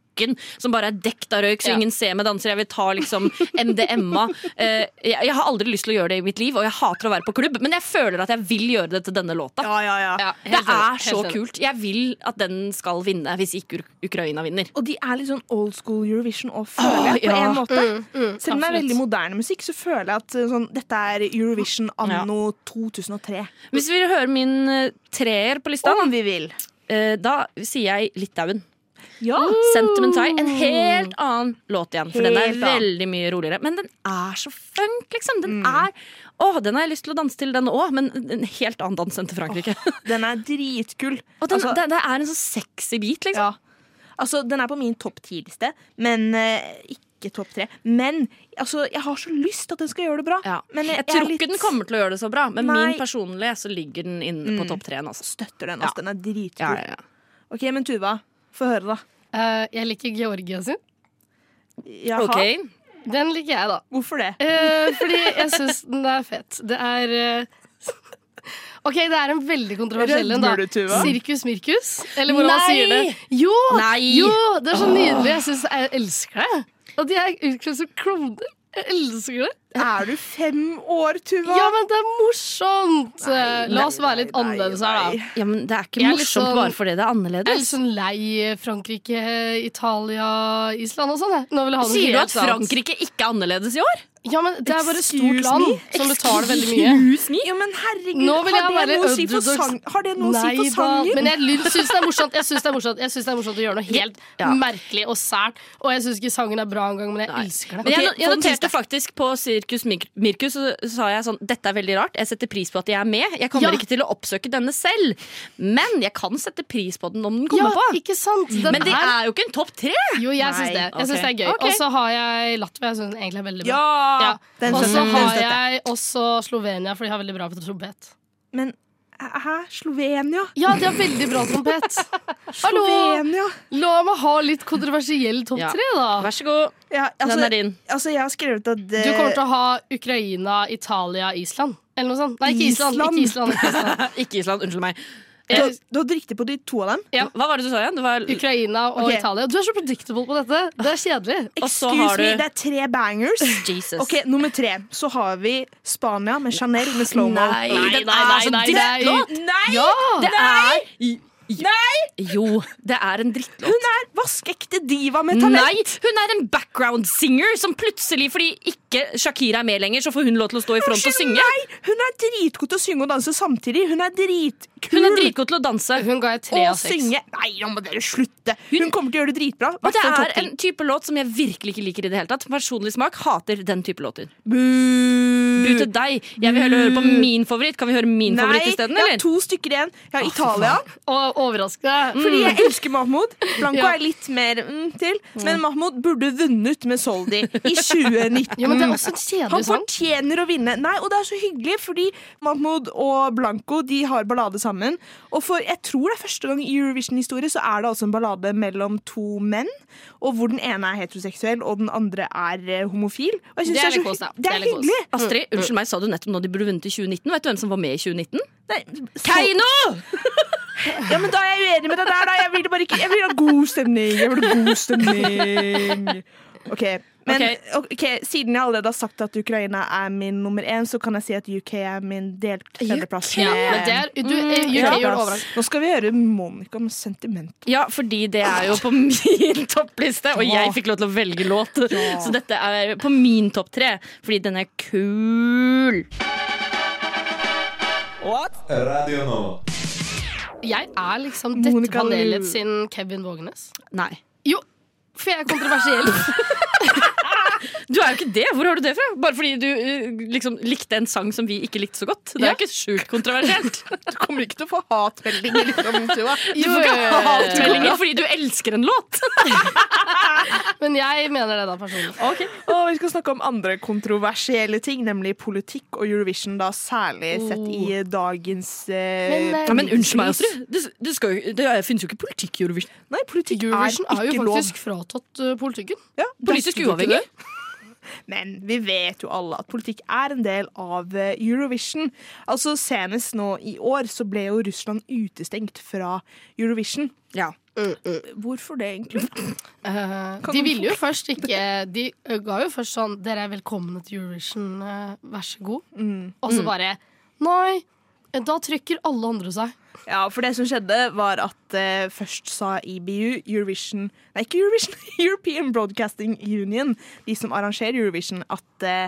Speaker 2: som bare er dekt av røyk, så
Speaker 3: Ja.
Speaker 2: ingen ser meg danser. Jeg vil ta liksom MDMA. Eh, jeg, jeg har aldri lyst til å gjøre det i mitt liv, og jeg hater å være på klubb, men jeg føler at jeg vil gjøre det til denne låta.
Speaker 1: ja, ja, ja.
Speaker 3: Ja,
Speaker 2: Det
Speaker 3: helt enig,
Speaker 2: er så
Speaker 3: helt enig.
Speaker 2: kult. Jeg vil at den skal vinne, hvis ikke Uk- Ukraina vinner.
Speaker 1: Og de er litt sånn old school Eurovision og føler jeg på
Speaker 2: Ah, ja. Mm,
Speaker 1: en måte. Selv om det er
Speaker 3: absolutt.
Speaker 1: veldig moderne musikk, så føler jeg at uh, sånn, dette er Eurovision anno 2003.
Speaker 2: Hvis vi vil høre min eh, treer på lista,
Speaker 1: Om vi vil.
Speaker 2: eh, da sier jeg Litauen.
Speaker 1: Ja.
Speaker 2: Sentimentai. En helt annen låt igjen, for den er
Speaker 1: Helt annen.
Speaker 2: veldig mye roligere. Men den er så funk, liksom. Den er Å, den har jeg lyst til å danse til, den òg, men en helt annen dans enn til Frankrike.
Speaker 1: Den er dritkul.
Speaker 2: Og den,
Speaker 1: altså,
Speaker 2: det, det er en sånn sexy bit, liksom.
Speaker 1: ja. altså, den er på min topp ti-liste, men eh, ikke topp tre. Men altså, jeg har så lyst til at den skal gjøre det bra.
Speaker 2: Ja.
Speaker 1: Men
Speaker 2: jeg,
Speaker 1: jeg,
Speaker 2: tror
Speaker 1: er litt
Speaker 2: ikke den kommer til å gjøre det så bra, men
Speaker 1: Nei.
Speaker 2: min personlige så ligger den inne på topp treen. Altså.
Speaker 1: støtter den. Altså, Den er dritkul.
Speaker 2: Ja, ja, ja.
Speaker 1: OK, men Tuva, få høre, da.
Speaker 3: Eh, jeg liker Georgia sin.
Speaker 1: Jaha.
Speaker 2: Ok.
Speaker 3: Den liker jeg, da.
Speaker 1: Hvorfor det?
Speaker 3: Eh, fordi jeg syns den er fett. Det er eh, OK, det er en veldig kontroversiell en, da.
Speaker 1: Rødmer du, Tuva?
Speaker 3: Sirkus Mirkus, eller hvordan man
Speaker 2: Nei!
Speaker 3: sier det. Jo!
Speaker 2: Nei!
Speaker 3: jo det er så nydelig. Jeg, synes, jeg elsker det. Og de er utkledd som klovner. Jeg elsker det.
Speaker 1: Er du fem år, Tuva?
Speaker 3: Ja, men det er morsomt! Eh,
Speaker 1: Nei,
Speaker 3: La oss
Speaker 1: nei,
Speaker 3: være litt
Speaker 1: nei,
Speaker 3: annerledes her, da.
Speaker 1: nei.
Speaker 2: Ja, men Det er ikke
Speaker 3: Jeg er litt
Speaker 2: morsomt
Speaker 3: sånn-
Speaker 2: bare fordi det er
Speaker 3: Jeg er litt
Speaker 2: annerledes.
Speaker 3: sånn lei Frankrike, Italia, Island og sånn. jeg. Nå vil jeg ha noe
Speaker 2: Sier du
Speaker 3: helt
Speaker 2: at
Speaker 3: annet.
Speaker 2: Frankrike ikke er annerledes i år?
Speaker 3: Ja, men Det er bare et
Speaker 1: Excuse
Speaker 3: stort land
Speaker 1: me?
Speaker 3: som betaler veldig mye.
Speaker 2: Excuse me?
Speaker 1: Jo, men herregud,
Speaker 3: Nå vil jeg
Speaker 1: har, det
Speaker 3: være
Speaker 1: noe å si for
Speaker 3: underdogs.
Speaker 1: sang, har det noe å si for
Speaker 3: Nei da,
Speaker 1: sangen?
Speaker 3: Men jeg ly- syns det er morsomt. Jeg syns det er morsomt Jeg synes det er morsomt å gjøre noe helt
Speaker 2: Ja.
Speaker 3: merkelig og sært. Og jeg syns ikke sangen er bra engang, men jeg
Speaker 2: Nei.
Speaker 3: elsker
Speaker 2: Men
Speaker 3: det.
Speaker 2: jeg,
Speaker 1: Ok,
Speaker 2: jeg
Speaker 1: for den
Speaker 2: noterte faktisk på Sirkus Mir- Mirkus Så sa jeg sånn Dette er veldig rart, jeg setter pris på at jeg er med Jeg kommer
Speaker 3: Ja.
Speaker 2: ikke til å oppsøke denne selv Men jeg kan sette pris på den om den
Speaker 3: Ja,
Speaker 2: kommer på
Speaker 3: ikke sant? Den
Speaker 2: Men det er jo ikke en topp tre
Speaker 3: Jo, jeg syns
Speaker 1: Nei,
Speaker 3: det. Jeg synes det
Speaker 2: ok.
Speaker 3: er gøy.
Speaker 2: Ok.
Speaker 3: Og så har jeg Latvia, jeg syns den egentlig er veldig bra. Ja.
Speaker 1: Den
Speaker 3: Og så
Speaker 1: støtter- den
Speaker 3: har
Speaker 1: støtter.
Speaker 3: jeg også Slovenia, for de har veldig bra på trompet.
Speaker 1: Men eh, hæ? Slovenia?
Speaker 3: Ja, de har veldig bra trompet. Hallo!
Speaker 1: Slovenia?
Speaker 3: La meg ha litt kontroversiell topp
Speaker 2: Ja.
Speaker 3: tre, da.
Speaker 2: Vær så god,
Speaker 1: Ja, altså,
Speaker 2: den er din
Speaker 1: altså, jeg har skrevet at
Speaker 3: Du kommer til å ha Ukraina, Italia, Island. Eller noe sånt. Nei, ikke Island. Ikke Island, ikke Island.
Speaker 2: Ikke Island, unnskyld meg
Speaker 1: eh, du, har- du hadde riktig på de to av dem.
Speaker 3: Ja.
Speaker 2: Hva var det du sa igjen? Det var,
Speaker 3: Ukraina og
Speaker 1: Ok.
Speaker 3: Italia. Du er så predictable på dette. Det er kjedelig.
Speaker 2: Og så
Speaker 1: Excuse
Speaker 2: har du-
Speaker 1: me, det er tre bangers.
Speaker 2: Jesus
Speaker 1: Ok, Nummer tre. Så har vi Spania med Chanel med slow-mo.
Speaker 2: Nei, den
Speaker 3: nei,
Speaker 2: er
Speaker 3: nei,
Speaker 2: så
Speaker 3: nei,
Speaker 2: drittlåt
Speaker 1: sånn- Nei!
Speaker 3: Ja!
Speaker 2: Det er Nei Jo, det er en drittlåt
Speaker 1: Hun er vaskeekte diva med talent.
Speaker 2: Nei, hun er en background singer Som plutselig, fordi ikke Shakira er med lenger Så får hun lov til å stå i front og synge
Speaker 1: Hun er dritgod til å synge og danse samtidig. Hun er dritkul
Speaker 2: Hun er dritgod til å danse.
Speaker 3: Hun ga jeg tre
Speaker 1: å
Speaker 3: av seks.
Speaker 1: synge. Nei, nå må dere slutte! Hun,
Speaker 2: Hun-
Speaker 1: kommer til å gjøre det dritbra.
Speaker 2: Og det
Speaker 1: Hvertfall
Speaker 2: er
Speaker 1: topp ti.
Speaker 2: en type låt som jeg virkelig ikke liker i det hele tatt. Personlig smak hater den type låter. Bu
Speaker 1: Bu
Speaker 2: til deg. Jeg vil heller høre på min favoritt. Kan vi høre min favoritt isteden,
Speaker 1: jeg har
Speaker 2: eller?
Speaker 1: to stykker igjen. Jeg har Italia,
Speaker 3: Og overraskende.
Speaker 1: fordi jeg elsker Mahmoud. Blanco
Speaker 3: Mm. Ja.
Speaker 1: er litt mer mm, til, men Mahmoud burde vunnet med Soldi i 2019.
Speaker 3: Jo, men det er også en kjedelig
Speaker 1: Mm. Han
Speaker 3: sang.
Speaker 1: fortjener å vinne. Nei, og det er så hyggelig, fordi Mahmoud og Blanco de har ballade sammen. Og for jeg tror det er første gang i Eurovision-historie så er det altså en ballade mellom to menn, og hvor den ene er heteroseksuell og den andre er eh, homofil. Og jeg synes
Speaker 3: Det er
Speaker 1: så
Speaker 3: litt kos, da.
Speaker 1: hy-
Speaker 3: Det
Speaker 1: det
Speaker 3: er
Speaker 1: er
Speaker 3: litt kos.
Speaker 1: hyggelig.
Speaker 2: Astrid, unnskyld meg, sa du nettopp nå de burde vunnet i 2019? Vet du hvem som var med i 2019?
Speaker 1: Nei,
Speaker 2: Keiino!
Speaker 1: Ja, men da er jeg uenig med deg der, da. Jeg vil, bare ikke, jeg vil ha god stemning. Jeg vil ha god stemning. OK. Men ok, siden jeg allerede har sagt at Ukraina er min nummer én, så kan jeg si at UK er min delt tredjeplass.
Speaker 3: Ja,
Speaker 1: med-
Speaker 3: men det er, du, eh, UK
Speaker 1: Mm. Ja.
Speaker 3: gjør det overraskende.
Speaker 1: Nå skal vi høre Monica med sentiment.
Speaker 2: Ja, fordi det er jo på min toppliste, og jeg fikk lov til å velge låt. Så dette er på min topp tre, fordi den er kul.
Speaker 4: Radio Nova.
Speaker 3: Jeg er liksom dette
Speaker 1: Monica
Speaker 3: panelet
Speaker 1: Lu.
Speaker 3: sin Kevin Vågenes.
Speaker 2: Nei.
Speaker 3: Jo, for jeg er kontroversiell.
Speaker 2: Du er jo ikke det! Hvor har du det fra? Bare fordi du eh, liksom likte en sang som vi ikke likte så godt. Det er
Speaker 3: Ja.
Speaker 2: jo ikke sjukt kontroversielt.
Speaker 1: Du kommer ikke til å få hatmeldinger. liksom, Tuva.
Speaker 3: Jo,
Speaker 2: Du får
Speaker 3: jo, jo,
Speaker 2: ikke
Speaker 3: jo, jo.
Speaker 2: hatmeldinger fordi du elsker en låt!
Speaker 3: Men jeg mener det da personlig.
Speaker 1: Og vi skal snakke om andre kontroversielle ting, nemlig politikk og Eurovision, da særlig sett i dagens eh,
Speaker 3: Oh. Men, eh,
Speaker 2: Ja, men unnskyld meg, altså. Astrid. Det, det, skal jo, det finnes jo ikke politikk i Eurovision.
Speaker 1: Nei, politikk
Speaker 3: Eurovision er jo
Speaker 1: ikke lov.
Speaker 3: faktisk fratatt uh, politikken.
Speaker 1: Ja,
Speaker 2: Politisk uavhengig.
Speaker 1: Men vi vet jo alle at politikk er en del av eh, Eurovision. Altså Senest nå i år så ble jo Russland utestengt fra Eurovision.
Speaker 2: Ja.
Speaker 1: Hvorfor det, egentlig?
Speaker 3: Eh,
Speaker 1: Kan
Speaker 3: de
Speaker 1: du
Speaker 3: ville jo først ikke De eh, ga jo først sånn Dere er velkomne til Eurovision, eh, vær så god.
Speaker 2: Mm.
Speaker 3: Og så bare Nei, eh, da trykker alle andre seg.
Speaker 1: Ja, For det som skjedde, var at eh, først sa EBU, Eurovision Nei, ikke Eurovision, European Broadcasting Union, de som arrangerer Eurovision, at eh,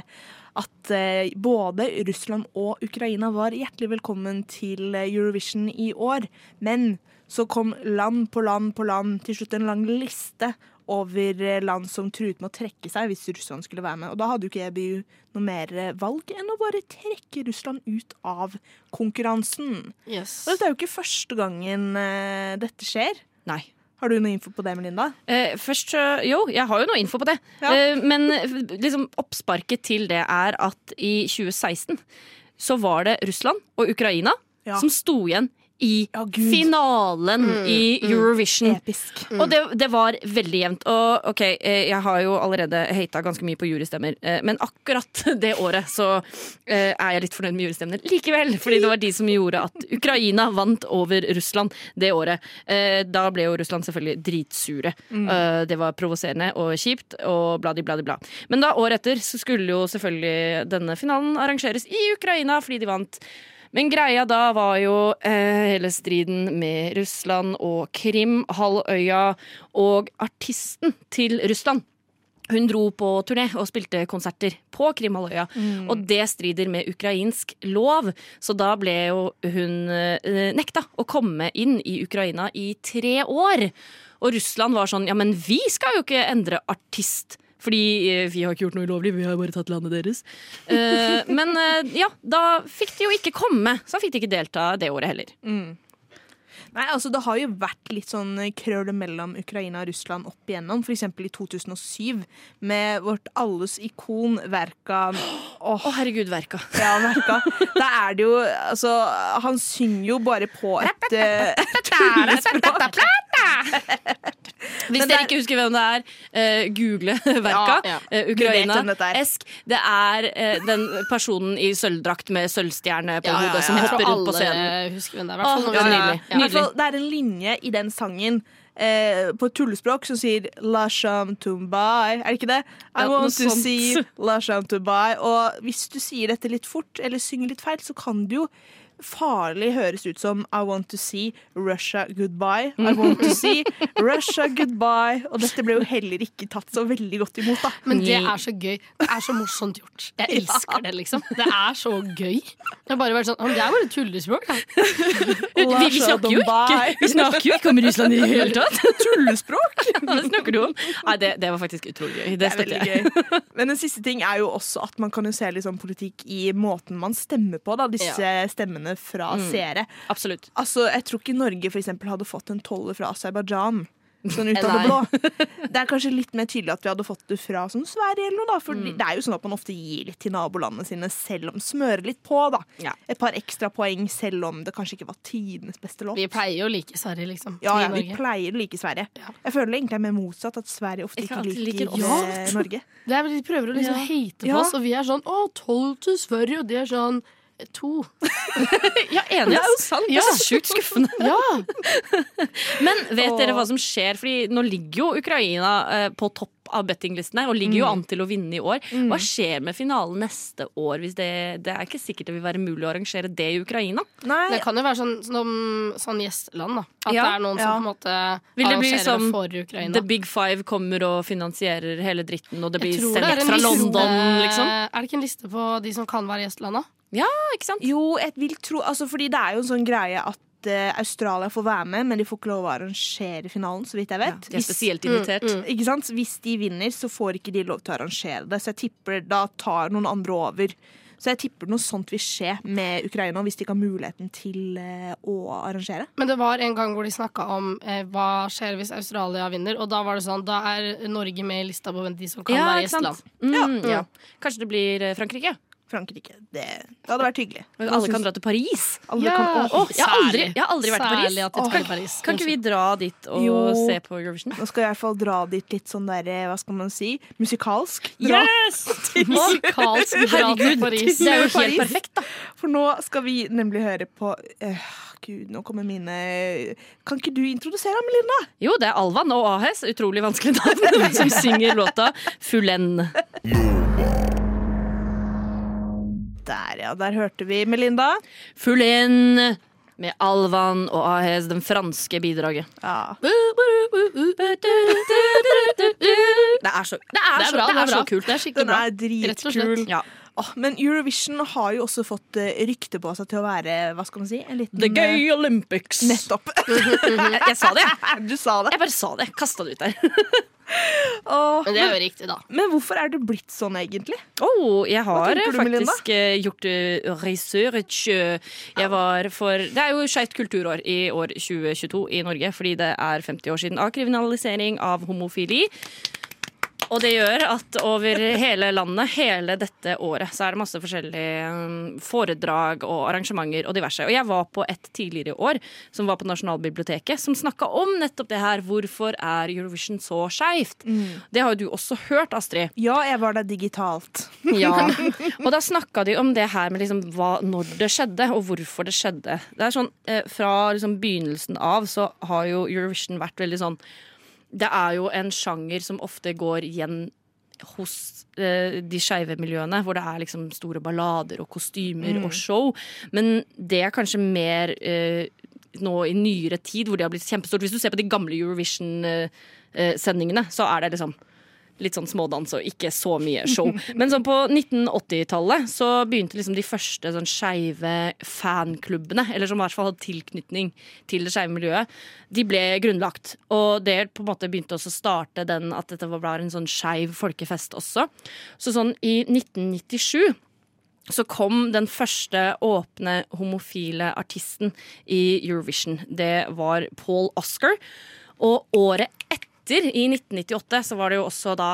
Speaker 1: at eh, både Russland og Ukraina var hjertelig velkommen til eh, Eurovision i år. Men så kom land på land på land, til slutt en lang liste over eh, land som truet med å trekke seg hvis Russland skulle være med. Og da hadde jo ikke EBU noe mer eh, valg enn å bare trekke Russland ut av konkurransen. Og dette er jo ikke første gangen eh, dette skjer.
Speaker 2: Nei.
Speaker 1: Har du noe info på det, Melinda?
Speaker 2: Eh, først, så- jo, jeg har jo noe info på det.
Speaker 1: Ja.
Speaker 2: Eh, men liksom, oppsparket til det er at i 2016 så var det Russland og Ukraina
Speaker 1: Ja.
Speaker 2: som sto igjen i
Speaker 1: Ja, Gud.
Speaker 2: finalen i Eurovision.
Speaker 1: Episk.
Speaker 2: Og det, det var veldig jevnt. Og ok, eh, jeg har jo allerede hata ganske mye på jurystemmer, eh, men akkurat det året så eh, er jeg litt fornøyd med jurystemmer likevel. Fordi det var de som gjorde at Ukraina vant over Russland det året. Eh, Da ble jo Russland selvfølgelig dritsure. Eh, Det var provoserende og kjipt og bladi, bladi, bla. Men da året etter så skulle jo selvfølgelig denne finalen arrangeres i Ukraina fordi de vant. Men greia da var jo eh, hele striden med Russland og Krim, halvøya og artisten til Russland. Hun dro på turné og spilte konserter på Krimhalvøya. Og det strider med ukrainsk lov, så da ble jo hun eh, nekta å komme inn i Ukraina i tre år. Og Russland var sånn ja, men vi skal jo ikke endre artist. Fordi eh, vi har ikke gjort noe ulovlig, vi har bare tatt landet deres. Eh, men eh, ja, da fikk de jo ikke komme, så da fikk de ikke delta det året heller.
Speaker 1: Nei, altså Det har jo vært litt sånn krøll mellom Ukraina og Russland opp igjennom. F.eks. i 2007 med vårt alles ikon Verka. Åh,
Speaker 2: Å herregud, verka.
Speaker 1: ja, Verka. Da er det jo Altså, han synger jo bare på et eh, tullespråk.
Speaker 2: Hvis
Speaker 1: Men det
Speaker 2: dere
Speaker 1: er-
Speaker 2: ikke husker hvem det er, eh, google verka.
Speaker 3: Ja, ja.
Speaker 2: eh,
Speaker 1: Du vet
Speaker 2: Ukraina.
Speaker 1: hvem dette er.
Speaker 2: Esk. Det er eh, den personen i sølvdrakt med sølvstjerne på
Speaker 3: Ja, ja, ja,
Speaker 2: hodet som
Speaker 3: jeg
Speaker 2: hopper
Speaker 3: tror
Speaker 2: rundt på scenen.
Speaker 3: alle husker hvem det er. i hvert fall
Speaker 2: Åh,
Speaker 3: når
Speaker 2: ja,
Speaker 3: vi-
Speaker 2: nydelig.
Speaker 1: I hvert fall, det er en linje i den sangen eh, på et tullespråk som sier 'Lasham Tumbai'. Er det ikke det? I
Speaker 2: Ja, noe
Speaker 1: want to
Speaker 2: sånt.
Speaker 1: see Lasham Tumbai. Og hvis du sier dette litt fort, eller synger litt feil, så kan det jo farlig høres ut som 'I want to see Russia goodbye'.
Speaker 2: Mm.
Speaker 1: I want to see Russia goodbye. Og dette ble jo heller ikke tatt så veldig godt imot, da.
Speaker 3: Men det er så gøy. Det er så morsomt gjort. Jeg elsker det, liksom. Det er så gøy. Det har bare vært sånn «Å, men Det er bare et tullespråk. da».
Speaker 2: Vi, vi snakker jo ikke Vi snakker jo ikke om Russland i det hele tatt!
Speaker 1: tullespråk!
Speaker 2: Hva snakker du om? Nei, det, det var faktisk utrolig gøy. Det
Speaker 1: Det er
Speaker 2: støtter jeg.
Speaker 1: veldig gøy. Men den siste ting er jo også at man kan jo se litt sånn politikk i måten man stemmer på, da, disse stemmene fra
Speaker 2: Mm.
Speaker 1: seere.
Speaker 2: Absolutt.
Speaker 1: Altså, Jeg tror ikke Norge for eksempel, hadde fått en toller fra Aserbajdsjan. Sånn ut av det
Speaker 3: Nei.
Speaker 1: blå. Det er kanskje litt mer tydelig at vi hadde fått det fra sånn Sverige eller noe. da, For
Speaker 2: Mm.
Speaker 1: det er jo sånn at man ofte gir litt til nabolandene sine selv om Smører litt på, da.
Speaker 2: Ja.
Speaker 1: Et par ekstra poeng selv om det kanskje ikke var tidenes beste låt.
Speaker 3: Vi pleier jo å like Sverige, liksom.
Speaker 1: Ja,
Speaker 3: i
Speaker 1: ja, vi
Speaker 3: Norge.
Speaker 1: pleier å like Sverige. Jeg føler egentlig det er mer motsatt, at Sverige ofte
Speaker 2: Ikke
Speaker 1: ikke
Speaker 2: alltid
Speaker 1: liker,
Speaker 2: liker oss.
Speaker 1: eh, Norge.
Speaker 3: Det er, vel- de prøver å liksom
Speaker 2: Ja.
Speaker 3: hate på
Speaker 1: Ja.
Speaker 3: oss, og vi er sånn 'Å, tolv til Sverige', og de er sånn to.
Speaker 2: Ja, enig. ass.
Speaker 1: sant.
Speaker 2: Ja, sjukt skuffende.
Speaker 3: Ja.
Speaker 2: Men vet
Speaker 1: Åh.
Speaker 2: dere hva som skjer? Fordi nå ligger jo Ukraina eh, på topp av bettinglistene og ligger jo
Speaker 3: Mm.
Speaker 2: an til å vinne i år. Hva skjer med finalen neste år? Hvis det, det er ikke sikkert det vil være mulig å arrangere det i Ukraina.
Speaker 1: Nei,
Speaker 3: Det kan jo være sånn, sånn, sånn gjesteland, da. At
Speaker 2: Ja,
Speaker 3: det er noen
Speaker 1: ja.
Speaker 3: som på en måte
Speaker 2: Vil det bli sånn
Speaker 3: arrangerer
Speaker 2: som
Speaker 3: for Ukraina.
Speaker 2: The Big Five kommer og finansierer hele dritten, og det blir
Speaker 3: Jeg tror det er
Speaker 2: sendt
Speaker 3: en
Speaker 2: fra
Speaker 3: liste-
Speaker 2: London, liksom.
Speaker 3: Er det ikke en liste på de som kan være gjesteland, da?
Speaker 2: Ja, ikke sant?
Speaker 1: Jo, jeg vil tro altså, Fordi det er jo en sånn greie at eh, Australia får være med, men de får ikke lov å arrangere finalen, så vidt jeg vet. Mm,
Speaker 2: De er spesielt invitert.
Speaker 3: Mm.
Speaker 1: ikke sant? Hvis de vinner, så får ikke de lov til å arrangere det. Så jeg tipper da tar noen andre over. Så jeg tipper noe sånt vil skje med Ukraina, hvis de ikke har muligheten til eh, å arrangere.
Speaker 3: Men det var en gang hvor de snakka om eh, hva skjer hvis Australia vinner, og da var det sånn, da er Norge med i lista på hvem de som kan være gjesteland.
Speaker 2: Mm, ja. Kanskje det blir eh, Frankrike?
Speaker 1: Frankrike. Det, det hadde vært hyggelig.
Speaker 2: Alle kan dra til Paris.
Speaker 1: Alle kan, Åh,
Speaker 2: Åh, jeg, har aldri, jeg har aldri vært i Paris.
Speaker 3: Særlig at de
Speaker 2: Åh,
Speaker 3: skal i Paris.
Speaker 2: Kan ikke vi dra dit og
Speaker 1: Jo.
Speaker 2: se på Eurovision?
Speaker 1: Nå skal jeg i hvert fall dra dit litt sånn der, eh, hva skal man si, musikalsk. Dra-
Speaker 2: Yes!
Speaker 3: Musikalsk dra til Paris.
Speaker 2: Det er jo
Speaker 1: Paris.
Speaker 2: helt perfekt, da.
Speaker 1: For nå skal vi nemlig høre på eh, Gud, nå kommer mine Kan ikke du introdusere ham, Linda?
Speaker 2: Jo, det er Alvan og Ahes, utrolig vanskelig navn, som synger låta Full N.
Speaker 1: Der, ja. Der hørte vi Melinda.
Speaker 2: Full N med Alvan og Ahes, den franske bidraget.
Speaker 1: Ja.
Speaker 2: Det er så, det er
Speaker 3: Det
Speaker 2: så,
Speaker 3: er bra,
Speaker 2: det er så
Speaker 3: bra.
Speaker 2: kult.
Speaker 3: Det er skikkelig
Speaker 1: Den
Speaker 3: bra.
Speaker 1: er
Speaker 3: Rett og slett.
Speaker 1: dritkul.
Speaker 2: Ja.
Speaker 1: Åh, men Eurovision har jo også fått eh, rykte på seg til å være hva skal man si, en liten
Speaker 2: The
Speaker 1: eh,
Speaker 2: Gay Olympics.
Speaker 1: Nettopp.
Speaker 2: Jeg, jeg sa det.
Speaker 1: du sa det.
Speaker 2: Jeg bare sa det. Kasta det ut der.
Speaker 1: Åh,
Speaker 3: Men det er jo riktig, da.
Speaker 1: men hvorfor er det blitt sånn, egentlig?
Speaker 2: Oh, jeg har
Speaker 1: tenker du,
Speaker 2: faktisk eh, gjort eh, research. eh, Jeg var for Det er jo skeivt kulturår i år 2022 i Norge, fordi det er 50 år siden avkriminalisering av homofili. Og det gjør at over hele landet, hele dette året, så er det masse forskjellige um, foredrag og arrangementer og diverse. Og jeg var på et tidligere i år som var på Nasjonalbiblioteket, som snakka om nettopp det her. Hvorfor er Eurovision så skeivt?
Speaker 1: Mm.
Speaker 2: Det har jo du også hørt, Astrid.
Speaker 1: Ja, jeg var der digitalt.
Speaker 2: Ja. Og da snakka de om det her med liksom hva, når det skjedde, og hvorfor det skjedde. Det er sånn, eh, Fra liksom begynnelsen av så har jo Eurovision vært veldig sånn Det er jo en sjanger som ofte går igjen hos eh, de skeive miljøene, hvor det er liksom store ballader og kostymer og show. Men det er kanskje mer eh, nå i nyere tid, hvor det har blitt kjempestort. Hvis du ser på de gamle Eurovision-sendingene, så er det liksom litt sånn smådans og ikke så mye show. Men sånn på 1980-tallet så begynte liksom de første sånn skeive fanklubbene, eller som i hvert fall hadde tilknytning til det skeive miljøet, de ble grunnlagt. Og det på en måte begynte også å starte den at dette var en sånn skeiv folkefest også. Så sånn i 1997 så kom den første åpne homofile artisten i Eurovision. Det var Paul Oscar. Og året etter, i 1998, så var det jo også da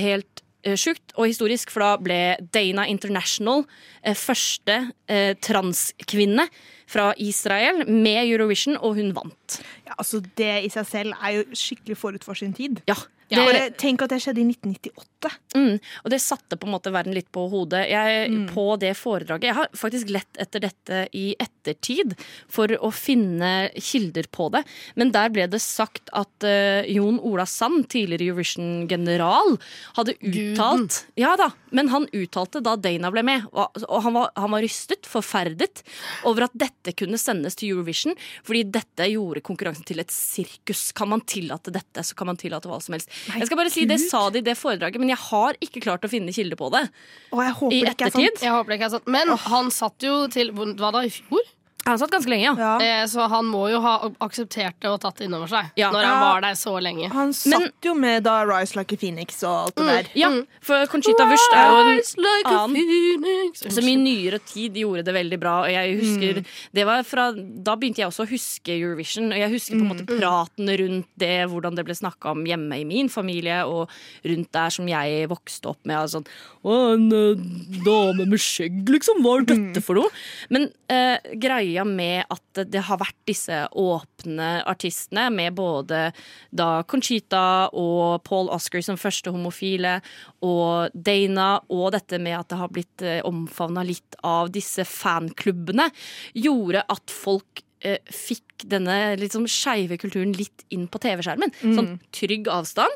Speaker 2: helt eh, sjukt og historisk, for da ble Dana International eh, første eh, transkvinne fra Israel med Eurovision, og hun vant.
Speaker 1: Ja, altså, det i seg selv er jo skikkelig forut for sin tid.
Speaker 2: Ja, det-
Speaker 3: Ja.
Speaker 1: Bare tenk at det skjedde i 1998.
Speaker 2: Mm, og det satte på en måte verden litt på hodet. Jeg, På det foredraget Jeg har faktisk lett etter dette i ettertid for å finne kilder på det. Men der ble det sagt at eh, Jon Ola Sand, tidligere Eurovision-general, hadde uttalt Ja da, men han uttalte da Dana ble med, og, og han, var, han var rystet, forferdet, over at dette kunne sendes til Eurovision, fordi dette gjorde konkurransen til et sirkus. Kan man tillate dette, så kan man tillate hva som helst. jeg skal bare si, Det sa de i det foredraget, men jeg har ikke klart å finne kilde på det.
Speaker 1: Og jeg håper
Speaker 2: I
Speaker 1: det ikke er sånn.
Speaker 2: ettertid?
Speaker 3: Jeg håper det ikke er sant. Men han satt jo til hvor- Hva da, i fjor?
Speaker 2: Han satt ganske lenge, ja.
Speaker 1: Ja.
Speaker 3: Eh, så han må jo ha akseptert det og tatt det innover seg.
Speaker 2: Ja.
Speaker 3: Når han
Speaker 1: Ja.
Speaker 3: var der så lenge.
Speaker 1: Han satt jo med da Rise Like a Phoenix og alt det der.
Speaker 2: Ja, for Conchita Wurst er jo en annen
Speaker 3: Så
Speaker 2: Som i Altså, nyere tid gjorde det veldig bra. Og jeg husker, det var fra, da begynte jeg også å huske Eurovision. Og jeg husker på en måte praten rundt det, hvordan det ble snakka om hjemme i min familie, og rundt der som jeg vokste opp med. Altså, sånn, Å, en eh, dame med skjegg, liksom. Hva er dette for noe? Men eh, greia med at det har vært disse åpne artistene, med både da Conchita og Paul Oscar som første homofile, og Dana, og dette med at det har blitt eh, omfavna litt av disse fanklubbene, gjorde at folk eh, fikk denne liksom skeive kulturen litt inn på TV-skjermen. Sånn trygg avstand.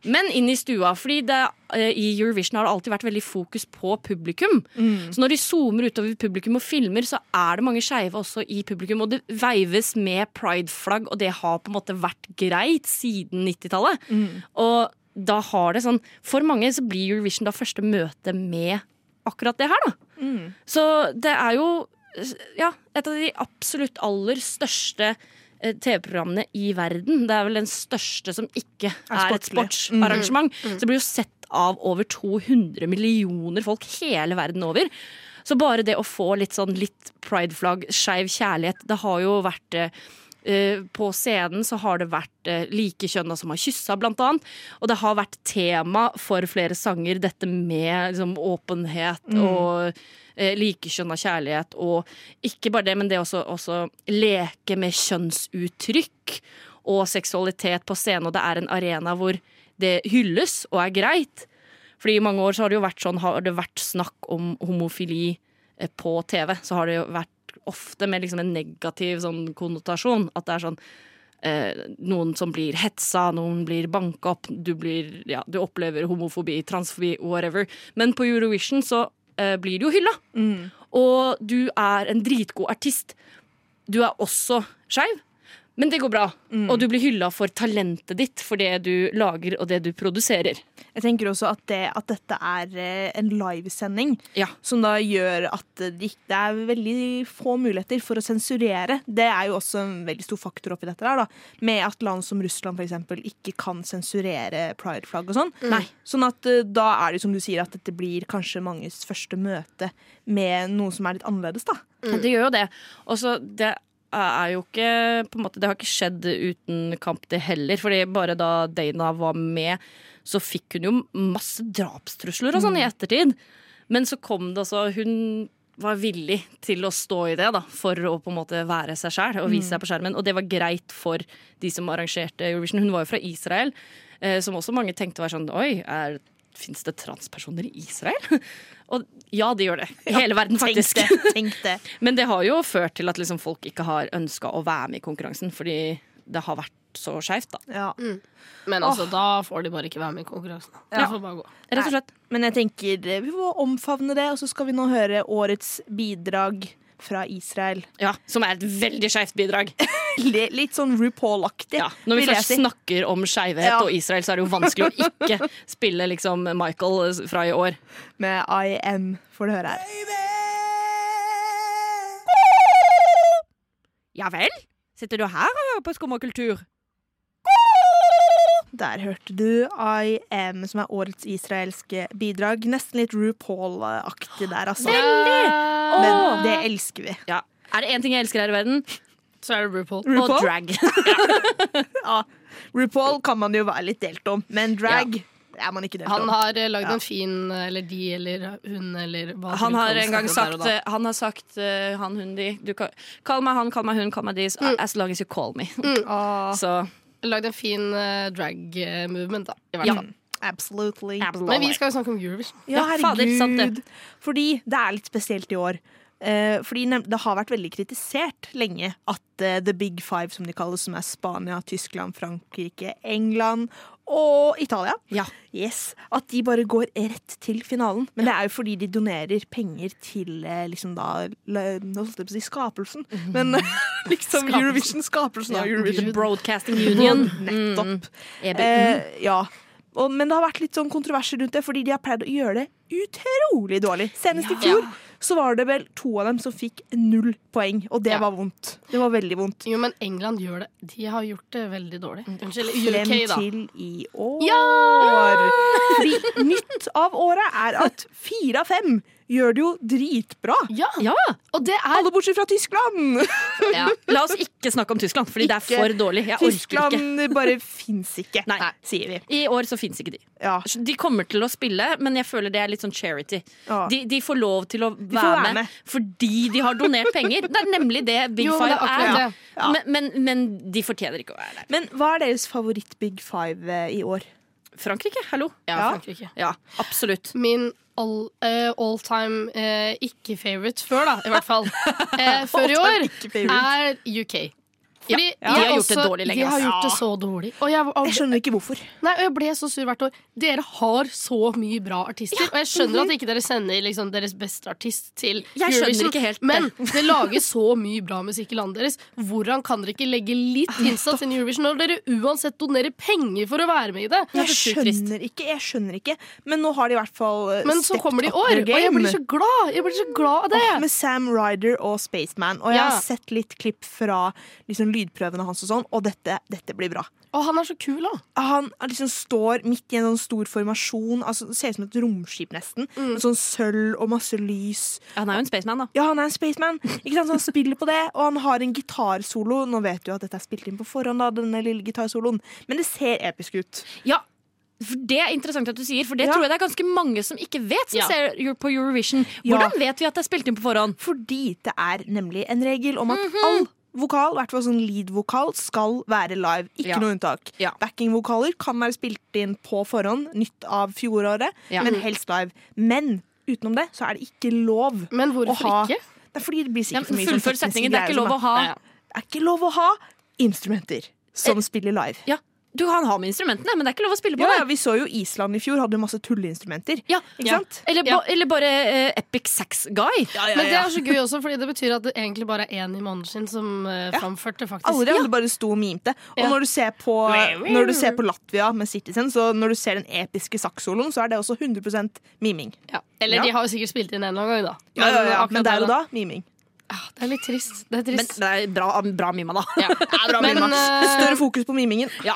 Speaker 2: Men inn i stua, fordi det, eh, i Eurovision har det alltid vært veldig fokus på publikum. Så når de zoomer utover publikum og filmer, så er det mange skeive også i publikum. Og det veives med prideflagg, og det har på en måte vært greit siden 90-tallet. Og da har det sånn For mange så blir Eurovision da første møte med akkurat det her, da. Så det er jo ja, et av de absolutt aller største eh, TV-programmene i verden. Det er vel den største som ikke er et
Speaker 1: sportslig.
Speaker 2: sportsarrangement. Så det blir jo sett av over 200 millioner folk hele verden over. Så bare det å få litt sånn litt prideflagg, skeiv kjærlighet, det har jo vært eh, eh, på scenen så har det vært eh, likekjønna som har kyssa, blant annet. Og det har vært tema for flere sanger, dette med liksom, åpenhet og eh, likekjønna kjærlighet. Og ikke bare det, men det også, også leke med kjønnsuttrykk og seksualitet på scenen. Og det er en arena hvor det hylles og er greit. Fordi i mange år så har det jo vært sånn, har det vært snakk om homofili eh, på TV, så har det jo vært ofte med liksom en negativ sånn konnotasjon. At det er sånn eh, noen som blir hetsa, noen blir banka opp, du, blir, ja, du opplever homofobi, transfobi, whatever. Men på Eurovision så eh, blir du jo hylla. Og du er en dritgod artist. Du er også skeiv. Men det går bra, og du blir hylla for talentet ditt, for det du lager og det du produserer.
Speaker 1: Jeg tenker også at, det, at dette er eh, en livesending,
Speaker 2: Ja.
Speaker 1: som da gjør at det ikke det er veldig få muligheter for å sensurere. Det er jo også en veldig stor faktor oppi dette der, da. Med at land som Russland for eksempel ikke kan sensurere prideflagg og sånn.
Speaker 2: Nei.
Speaker 1: Sånn at eh, da er det som du sier, at dette blir kanskje manges første møte med noe som er litt annerledes, da.
Speaker 2: Det gjør jo det. Og så det er jo ikke på en måte, Det har ikke skjedd uten kamp, det heller. Fordi bare da Dana var med, så fikk hun jo masse drapstrusler og sånn i ettertid. Men så kom det altså Hun var villig til å stå i det da, for å på en måte være seg sjæl og vise seg på skjermen. Og det var greit for de som arrangerte Eurovision. Hun var jo fra Israel, eh, som også mange tenkte var sånn Oi, er Fins det transpersoner i Israel? Og ja, det gjør det. I hele verden,
Speaker 1: Tenk
Speaker 2: faktisk.
Speaker 1: det. Tenk det.
Speaker 2: Men det har jo ført til at liksom folk ikke har ønska å være med i konkurransen, fordi det har vært så skeivt, da.
Speaker 1: Ja.
Speaker 3: Men altså, da får de bare ikke være med i konkurransen. De får bare gå.
Speaker 2: Rett og slett.
Speaker 1: Men jeg tenker eh, vi må omfavne det, og så skal vi nå høre årets bidrag fra Israel.
Speaker 2: Ja, Som er et veldig skeivt bidrag.
Speaker 1: Litt, litt sånn RuPaul-aktig.
Speaker 2: Ja, når vi
Speaker 1: vil jeg
Speaker 2: først
Speaker 1: si.
Speaker 2: snakker om skeivhet
Speaker 1: Ja.
Speaker 2: og Israel, så er det jo vanskelig å ikke spille liksom Michael fra i år.
Speaker 1: Med I Am, får du høre her.
Speaker 2: Ja vel? Sitter du her og hører på Skum og kultur?
Speaker 1: Der hørte du I Am, som er årets israelske bidrag. Nesten litt RuPaul-aktig der, altså.
Speaker 3: Eh,
Speaker 1: Men det elsker vi.
Speaker 2: Ja. Er det én ting jeg elsker her i verden?
Speaker 3: Så er det RuPaul.
Speaker 2: Og
Speaker 1: RuPaul,
Speaker 2: drag.
Speaker 1: RuPaul kan man jo være litt delt om, men drag er man ikke delt
Speaker 3: Han
Speaker 1: om.
Speaker 3: har eh, lagd en fin eh, Eller de eller hun eller hva
Speaker 2: Han
Speaker 3: du
Speaker 2: har
Speaker 3: kaller
Speaker 2: en gang
Speaker 3: det der og
Speaker 2: sagt
Speaker 3: da.
Speaker 2: eh, Han har sagt eh, han, hun, de. Du kan, kall meg han, kall meg hun, kall meg de. so- As long as you call me. Så
Speaker 3: Lagd en fin eh, drag eh, movement, da. I hvert
Speaker 2: Ja.
Speaker 3: fall.
Speaker 1: Absolutely.
Speaker 3: Men vi skal jo snakke om Eurovision.
Speaker 1: Ja,
Speaker 2: Ja, fader,
Speaker 1: herregud.
Speaker 2: sant det.
Speaker 1: Fordi det er litt spesielt i år. Eh, fordi nem- Det har vært veldig kritisert lenge at eh, The Big Five, som de kalles, som er Spania, Tyskland, Frankrike, England og Italia,
Speaker 2: Ja.
Speaker 1: yes, at de bare går rett til finalen. Men det er jo fordi de donerer penger til eh, liksom da, la- Nå holdt jeg på å si skapelsen,
Speaker 2: Mhm.
Speaker 1: men liksom Eurovision. Skapelsen av Eurovision.
Speaker 2: Broadcasting Union. Mm,
Speaker 1: Nettopp.
Speaker 2: EBU.
Speaker 1: Eh, ja.
Speaker 2: mm.
Speaker 1: Og, men det har vært litt sånn kontroverser rundt det, fordi de har pleid å gjøre det utrolig dårlig. Senest i fjor så var det vel to av dem som fikk null poeng, og det
Speaker 3: Ja.
Speaker 1: var vondt. Det var veldig vondt.
Speaker 3: Jo, men England gjør det. De har gjort det veldig dårlig.
Speaker 2: Mm.
Speaker 3: Unnskyld,
Speaker 1: Frem
Speaker 3: UK, da.
Speaker 1: til i år. Fordi nytt av året er at fire av fem gjør det jo dritbra.
Speaker 3: Ja.
Speaker 2: Ja.
Speaker 3: Og det er
Speaker 1: Alle bortsett fra Tyskland!
Speaker 2: ja! La oss ikke snakke om Tyskland, fordi det er
Speaker 1: Ikke
Speaker 2: for dårlig. Jeg orker ikke.
Speaker 1: Tyskland bare fins ikke,
Speaker 2: Nei.
Speaker 1: sier vi.
Speaker 2: I år så fins ikke de.
Speaker 1: Ja.
Speaker 2: De kommer til å spille, men jeg føler det er litt sånn charity.
Speaker 1: Ja.
Speaker 2: De, de får lov til å
Speaker 1: får
Speaker 2: være,
Speaker 1: være
Speaker 2: med,
Speaker 1: med.
Speaker 2: fordi de har donert penger. Det er nemlig det Big
Speaker 3: Jo, men
Speaker 2: Five
Speaker 3: det er akkurat
Speaker 2: er.
Speaker 3: det.
Speaker 2: Men, men, men de fortjener ikke å være der.
Speaker 1: Men hva er deres favoritt-big five eh, i år?
Speaker 2: Frankrike, hallo.
Speaker 3: Ja,
Speaker 1: Ja.
Speaker 3: Frankrike.
Speaker 2: Ja, absolutt.
Speaker 3: Min all, eh, all time eh, ikke-favorite før, da, i hvert fall. Eh, før i år er UK. Fordi
Speaker 2: de har gjort det
Speaker 3: også-
Speaker 2: dårlig lenge,
Speaker 3: De har
Speaker 2: ass.
Speaker 3: gjort det så dårlig. Og jeg, og,
Speaker 1: Jeg skjønner ikke hvorfor.
Speaker 3: nei, og jeg ble så sur hvert år. Dere har så mye bra artister. Og jeg skjønner at ikke dere sender liksom, deres beste artist til
Speaker 2: Mhm. Jeg skjønner
Speaker 3: Eurovision,
Speaker 2: ikke helt det.
Speaker 3: men det lages så mye bra musikk i landet deres. Hvordan kan dere ikke legge litt
Speaker 2: Ah,
Speaker 3: innsats inn i Eurovision når dere uansett donerer penger for å være med i det?
Speaker 1: Jeg
Speaker 2: det er sjukt trist.
Speaker 1: skjønner ikke, jeg skjønner ikke. Men nå har de i hvert fall eh,
Speaker 3: Men så
Speaker 1: stepped
Speaker 3: kommer de i
Speaker 1: up
Speaker 3: år,
Speaker 1: their
Speaker 3: og jeg
Speaker 1: game.
Speaker 3: blir så glad! Jeg blir så glad av det.
Speaker 1: Åh, Med Sam Ryder og Spaceman. Og jeg
Speaker 3: Ja.
Speaker 1: har sett litt klipp fra liksom, lydprøvene hans, og sånn Og dette, dette blir bra.
Speaker 3: Og han er så kul, da.
Speaker 1: Han er liksom står midt i en sånn stor formasjon, altså, det ser ut som et romskip nesten.
Speaker 3: Mm.
Speaker 1: Med sånn sølv og masse lys.
Speaker 2: Han er jo en spaceman, da.
Speaker 1: Ja, han er en spaceman. Ikke sant? Så han spiller på det, og han har en gitarsolo. Nå vet du at dette er spilt inn på forhånd, da, denne lille gitarsoloen, men det ser episk ut.
Speaker 2: Ja, for Det er interessant at du sier, for det
Speaker 1: Ja.
Speaker 2: tror jeg det er ganske mange som ikke vet. Som
Speaker 3: Ja.
Speaker 2: ser Euro- på Eurovision
Speaker 1: Ja.
Speaker 2: Hvordan vet vi at det er spilt inn på forhånd?
Speaker 1: Fordi det er nemlig en regel om at
Speaker 2: Mhm.
Speaker 1: all vokal, i hvert fall sånn lead-vokal, skal være live. Ikke
Speaker 2: Ja.
Speaker 1: noe unntak.
Speaker 2: Ja.
Speaker 1: Backing-vokaler kan være spilt inn på forhånd, nytt av fjoråret,
Speaker 2: Ja. Mhm.
Speaker 1: men helst live. Men utenom det så er det ikke lov
Speaker 3: Men
Speaker 1: å
Speaker 3: hvorfor
Speaker 1: ha
Speaker 3: ikke?
Speaker 1: Det er fordi det blir
Speaker 2: Ja,
Speaker 1: sikkert for
Speaker 2: men
Speaker 1: mye sånn
Speaker 2: Fullfør
Speaker 1: tekniske
Speaker 2: setningen. Det er
Speaker 1: greier
Speaker 2: ikke
Speaker 1: som
Speaker 2: lov å ha Eh,
Speaker 3: Ja, ja.
Speaker 1: Det er ikke lov å ha instrumenter som spiller live.
Speaker 2: Ja, Du kan ha med instrumentene, men det er ikke lov å spille på
Speaker 1: Ja, ja,
Speaker 2: det.
Speaker 1: Vi så jo Island i fjor, hadde jo masse tulleinstrumenter.
Speaker 2: Ja.
Speaker 1: Ikke
Speaker 3: Ja.
Speaker 1: sant?
Speaker 2: Eller, ba-
Speaker 3: Ja.
Speaker 2: eller bare eh, Epic Sax Guy.
Speaker 3: Men det er så gøy også, fordi det betyr at det egentlig bare er én i måneden sin som eh, framførte, faktisk.
Speaker 1: Alle de andre bare sto og mimte. Og
Speaker 3: Ja.
Speaker 1: når, du ser på, når du ser på Latvia med Citizen, så når du ser den episke sakssoloen, så er det også 100 miming.
Speaker 3: Ja. Eller
Speaker 1: Ja.
Speaker 3: de har jo sikkert spilt inn en eller annen gang, da.
Speaker 1: Ja, ja, ja.
Speaker 3: akkurat
Speaker 1: Men der og da miming.
Speaker 3: Ah, Det er litt trist. Det er
Speaker 2: Men
Speaker 3: trist.
Speaker 2: det er bra, bra mima, da.
Speaker 3: ja.
Speaker 1: Bra
Speaker 3: Men,
Speaker 1: mima.
Speaker 3: eh,
Speaker 1: Større fokus på mimingen.
Speaker 2: Ja.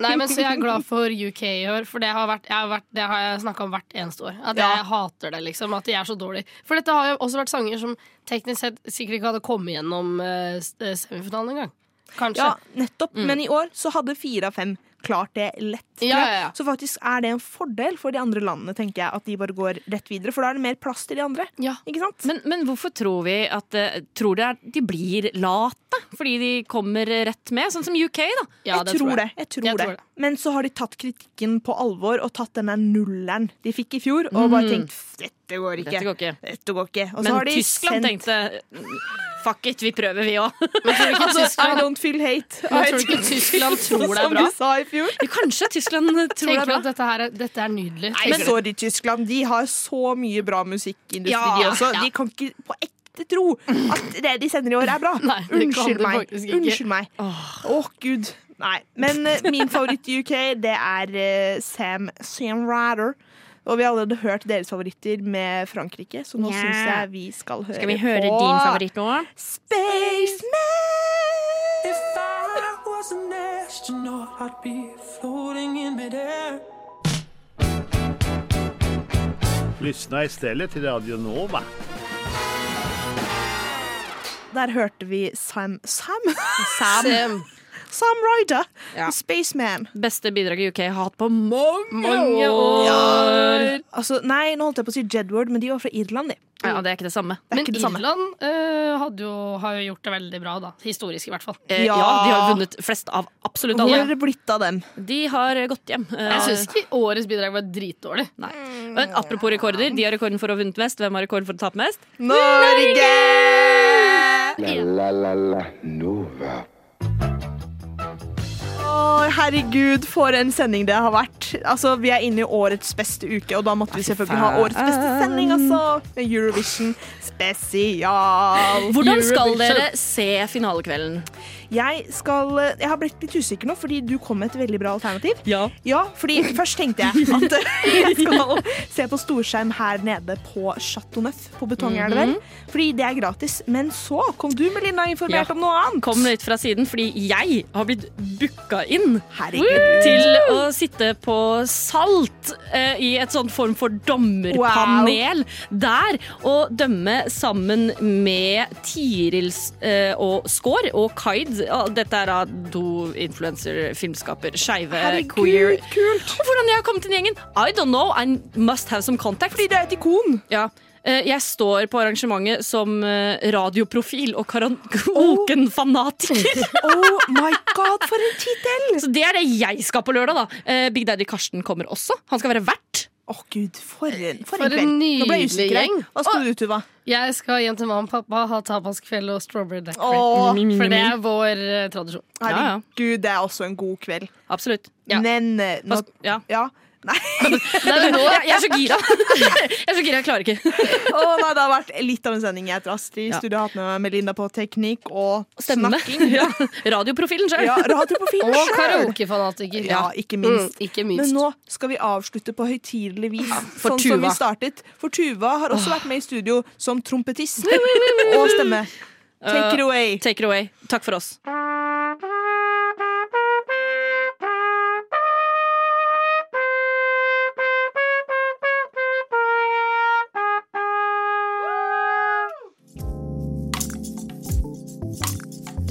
Speaker 3: Nei, men så jeg er glad for UK i år, for det har, vært, jeg har, vært, det har jeg snakka om hvert eneste år. At jeg hater det, liksom. At de er så dårlige. For dette har jo også vært sanger som teknisk sett sikkert ikke hadde kommet gjennom eh, s- eh, semifinalen engang. Kanskje.
Speaker 1: Ja, nettopp. Men i år så hadde fire av fem klart det lett. tror
Speaker 3: Mm. Ja,
Speaker 1: jeg.
Speaker 3: ja, ja.
Speaker 1: Så faktisk er det en fordel for de andre landene, tenker jeg, at de bare går rett videre. For da er det mer plass til de andre.
Speaker 3: Ja.
Speaker 1: Ikke sant?
Speaker 2: Men, men hvorfor tror vi at eh, tror det er, de blir late fordi de kommer rett med? Sånn som UK, da.
Speaker 3: Ja,
Speaker 1: jeg tror det. Jeg tror
Speaker 3: Jeg
Speaker 1: det.
Speaker 3: tror det.
Speaker 1: Men så har de tatt kritikken på alvor og tatt denne nulleren de fikk i fjor, og bare tenkt "Pff, dette går ikke.
Speaker 2: Dette går ikke.
Speaker 1: Dette går ikke. Og så
Speaker 2: Men
Speaker 1: har de
Speaker 2: Tyskland
Speaker 1: sendt
Speaker 2: tenkte "Mm, fuck it, vi prøver vi òg.
Speaker 1: altså, I don't feel hate.
Speaker 3: Men
Speaker 1: I
Speaker 3: tror du ikke
Speaker 1: don't
Speaker 3: Tyskland
Speaker 1: feel-
Speaker 3: tror det er
Speaker 1: Som
Speaker 3: bra?
Speaker 1: de sa i fjor.
Speaker 2: Kanskje Tyskland tror det
Speaker 3: Tenker
Speaker 2: er
Speaker 3: du
Speaker 2: bra.
Speaker 3: at dette, her er, dette er nydelig?
Speaker 1: Nei, men sorry, Tyskland. De har så mye bra musikkindustri,
Speaker 3: Ja,
Speaker 1: de også.
Speaker 3: ja.
Speaker 1: De kan ikke på ekte tro at det de sender i år, er bra.
Speaker 3: Nei, det kan
Speaker 1: Unnskyld
Speaker 3: de
Speaker 1: meg.
Speaker 3: faktisk ikke.
Speaker 1: Unnskyld meg. Å, gud. Nei. Men eh, min favoritt i UK, det er eh, Sam, Sam Ryder. Og vi har allerede hørt deres favoritter med Frankrike, så nå
Speaker 2: Ja.
Speaker 1: syns jeg vi skal høre,
Speaker 2: Skal vi høre
Speaker 1: på
Speaker 2: din favoritt nå?
Speaker 1: Spaceman!
Speaker 4: If I was an astronaut, I'd be floating in midair.
Speaker 6: Lyssna istället till Radio Nova.
Speaker 1: Der hørte vi Sam Sam,
Speaker 3: Sam.
Speaker 1: Sam Ryder,
Speaker 2: Ja.
Speaker 1: Spaceman.
Speaker 2: Beste bidraget UK har hatt på mange,
Speaker 3: Mange år.
Speaker 1: Altså, nei, nå holdt jeg på å si Jedward, men de var fra Irland, de.
Speaker 2: Ja, det er ikke det samme.
Speaker 1: Det er
Speaker 3: Men
Speaker 1: ikke det samme.
Speaker 3: Irland eh, hadde jo, har jo gjort det veldig bra, da. Historisk, i hvert fall.
Speaker 2: Eh, ja,
Speaker 1: Ja.
Speaker 2: de har vunnet flest av absolutt
Speaker 1: Hvor
Speaker 2: alle.
Speaker 1: er det blitt av dem?
Speaker 2: De har gått hjem. Eh,
Speaker 3: Jeg syns ikke årets bidrag var dritdårlig.
Speaker 2: Nei. Men apropos rekorder, de har rekorden for å ha vunnet mest. Hvem har rekord for å tape mest?
Speaker 1: Norge!
Speaker 7: La la la la Nova.
Speaker 1: Å, herregud, for en sending det har vært. Altså, Vi er inne i årets beste uke, og da måtte vi selvfølgelig ha årets beste sending, altså. Med Eurovision spesial.
Speaker 2: Hvordan skal
Speaker 3: Eurovision.
Speaker 2: dere se finalekvelden?
Speaker 1: Jeg skal eh, Jeg har blitt litt usikker nå, fordi du kom med et veldig bra alternativ.
Speaker 2: Ja.
Speaker 1: Ja, fordi først tenkte jeg at jeg skal se på storskjerm her nede på Chateau Neuf på Betongelver. Fordi det er gratis. Men så kom du, Melina, informert
Speaker 2: Mhm. Ja.
Speaker 1: om noe annet.
Speaker 2: Kom litt fra siden, fordi jeg har blitt booka inn
Speaker 1: Herregud.
Speaker 2: til å sitte på Salt eh, i et sånn form for dommerpanel der og dømme sammen med Tirils eh, og Skår og Kaid. Ja, Dette er da to influencer-filmskaper, skeive,
Speaker 1: Herregud,
Speaker 2: queer.
Speaker 1: kult.
Speaker 2: Og hvordan jeg har kommet inn i gjengen? I don't know, I must have some contact.
Speaker 1: Fordi det er et ikon.
Speaker 2: Ja. Eh, Jeg står på arrangementet som eh, radioprofil og karaoke-fanatiker.
Speaker 1: Oh my god, for en tittel!
Speaker 2: Så det er det jeg skal på lørdag. da Eh, Big Daddy Karsten kommer også. Han skal være vert.
Speaker 1: Å gud, for en, for
Speaker 3: For
Speaker 1: en
Speaker 3: en
Speaker 1: kveld. Nå ble jeg
Speaker 3: nydelig
Speaker 1: usikker.
Speaker 3: gjeng.
Speaker 1: Hva skal du, Tuva?
Speaker 3: Jeg skal hjem til mamma og pappa ha tapaskveld og strawberry deck
Speaker 1: Åh,
Speaker 3: For det er vår eh, tradisjon.
Speaker 2: Ja, ja.
Speaker 1: herregud, det er også en god kveld.
Speaker 2: Absolutt. Ja.
Speaker 1: Men eh, nå,
Speaker 2: Pass- ja.
Speaker 1: Ja. Nei.
Speaker 2: Jeg, jeg er så gira. Jeg er så gira, jeg klarer ikke.
Speaker 1: Å, nei, det har vært litt av en sending. Jeg heter Astrid. I
Speaker 2: Ja.
Speaker 1: Studio har hatt med meg Melinda på teknikk og
Speaker 2: Stemme.
Speaker 1: snakk.
Speaker 2: Ja. Radioprofilen sjøl.
Speaker 1: Ja, radioprofil
Speaker 3: Og
Speaker 1: selv.
Speaker 3: karaokefanatiker.
Speaker 1: Ja, ikke
Speaker 3: Mm,
Speaker 1: minst.
Speaker 3: ikke
Speaker 1: Men
Speaker 3: minst.
Speaker 1: nå skal vi avslutte på høytidelig vis,
Speaker 2: for
Speaker 1: sånn som
Speaker 2: Tuva.
Speaker 1: vi startet. For Tuva har også vært med i studio som trompetist og stemme. Take it away.
Speaker 2: Take it away. Takk for oss.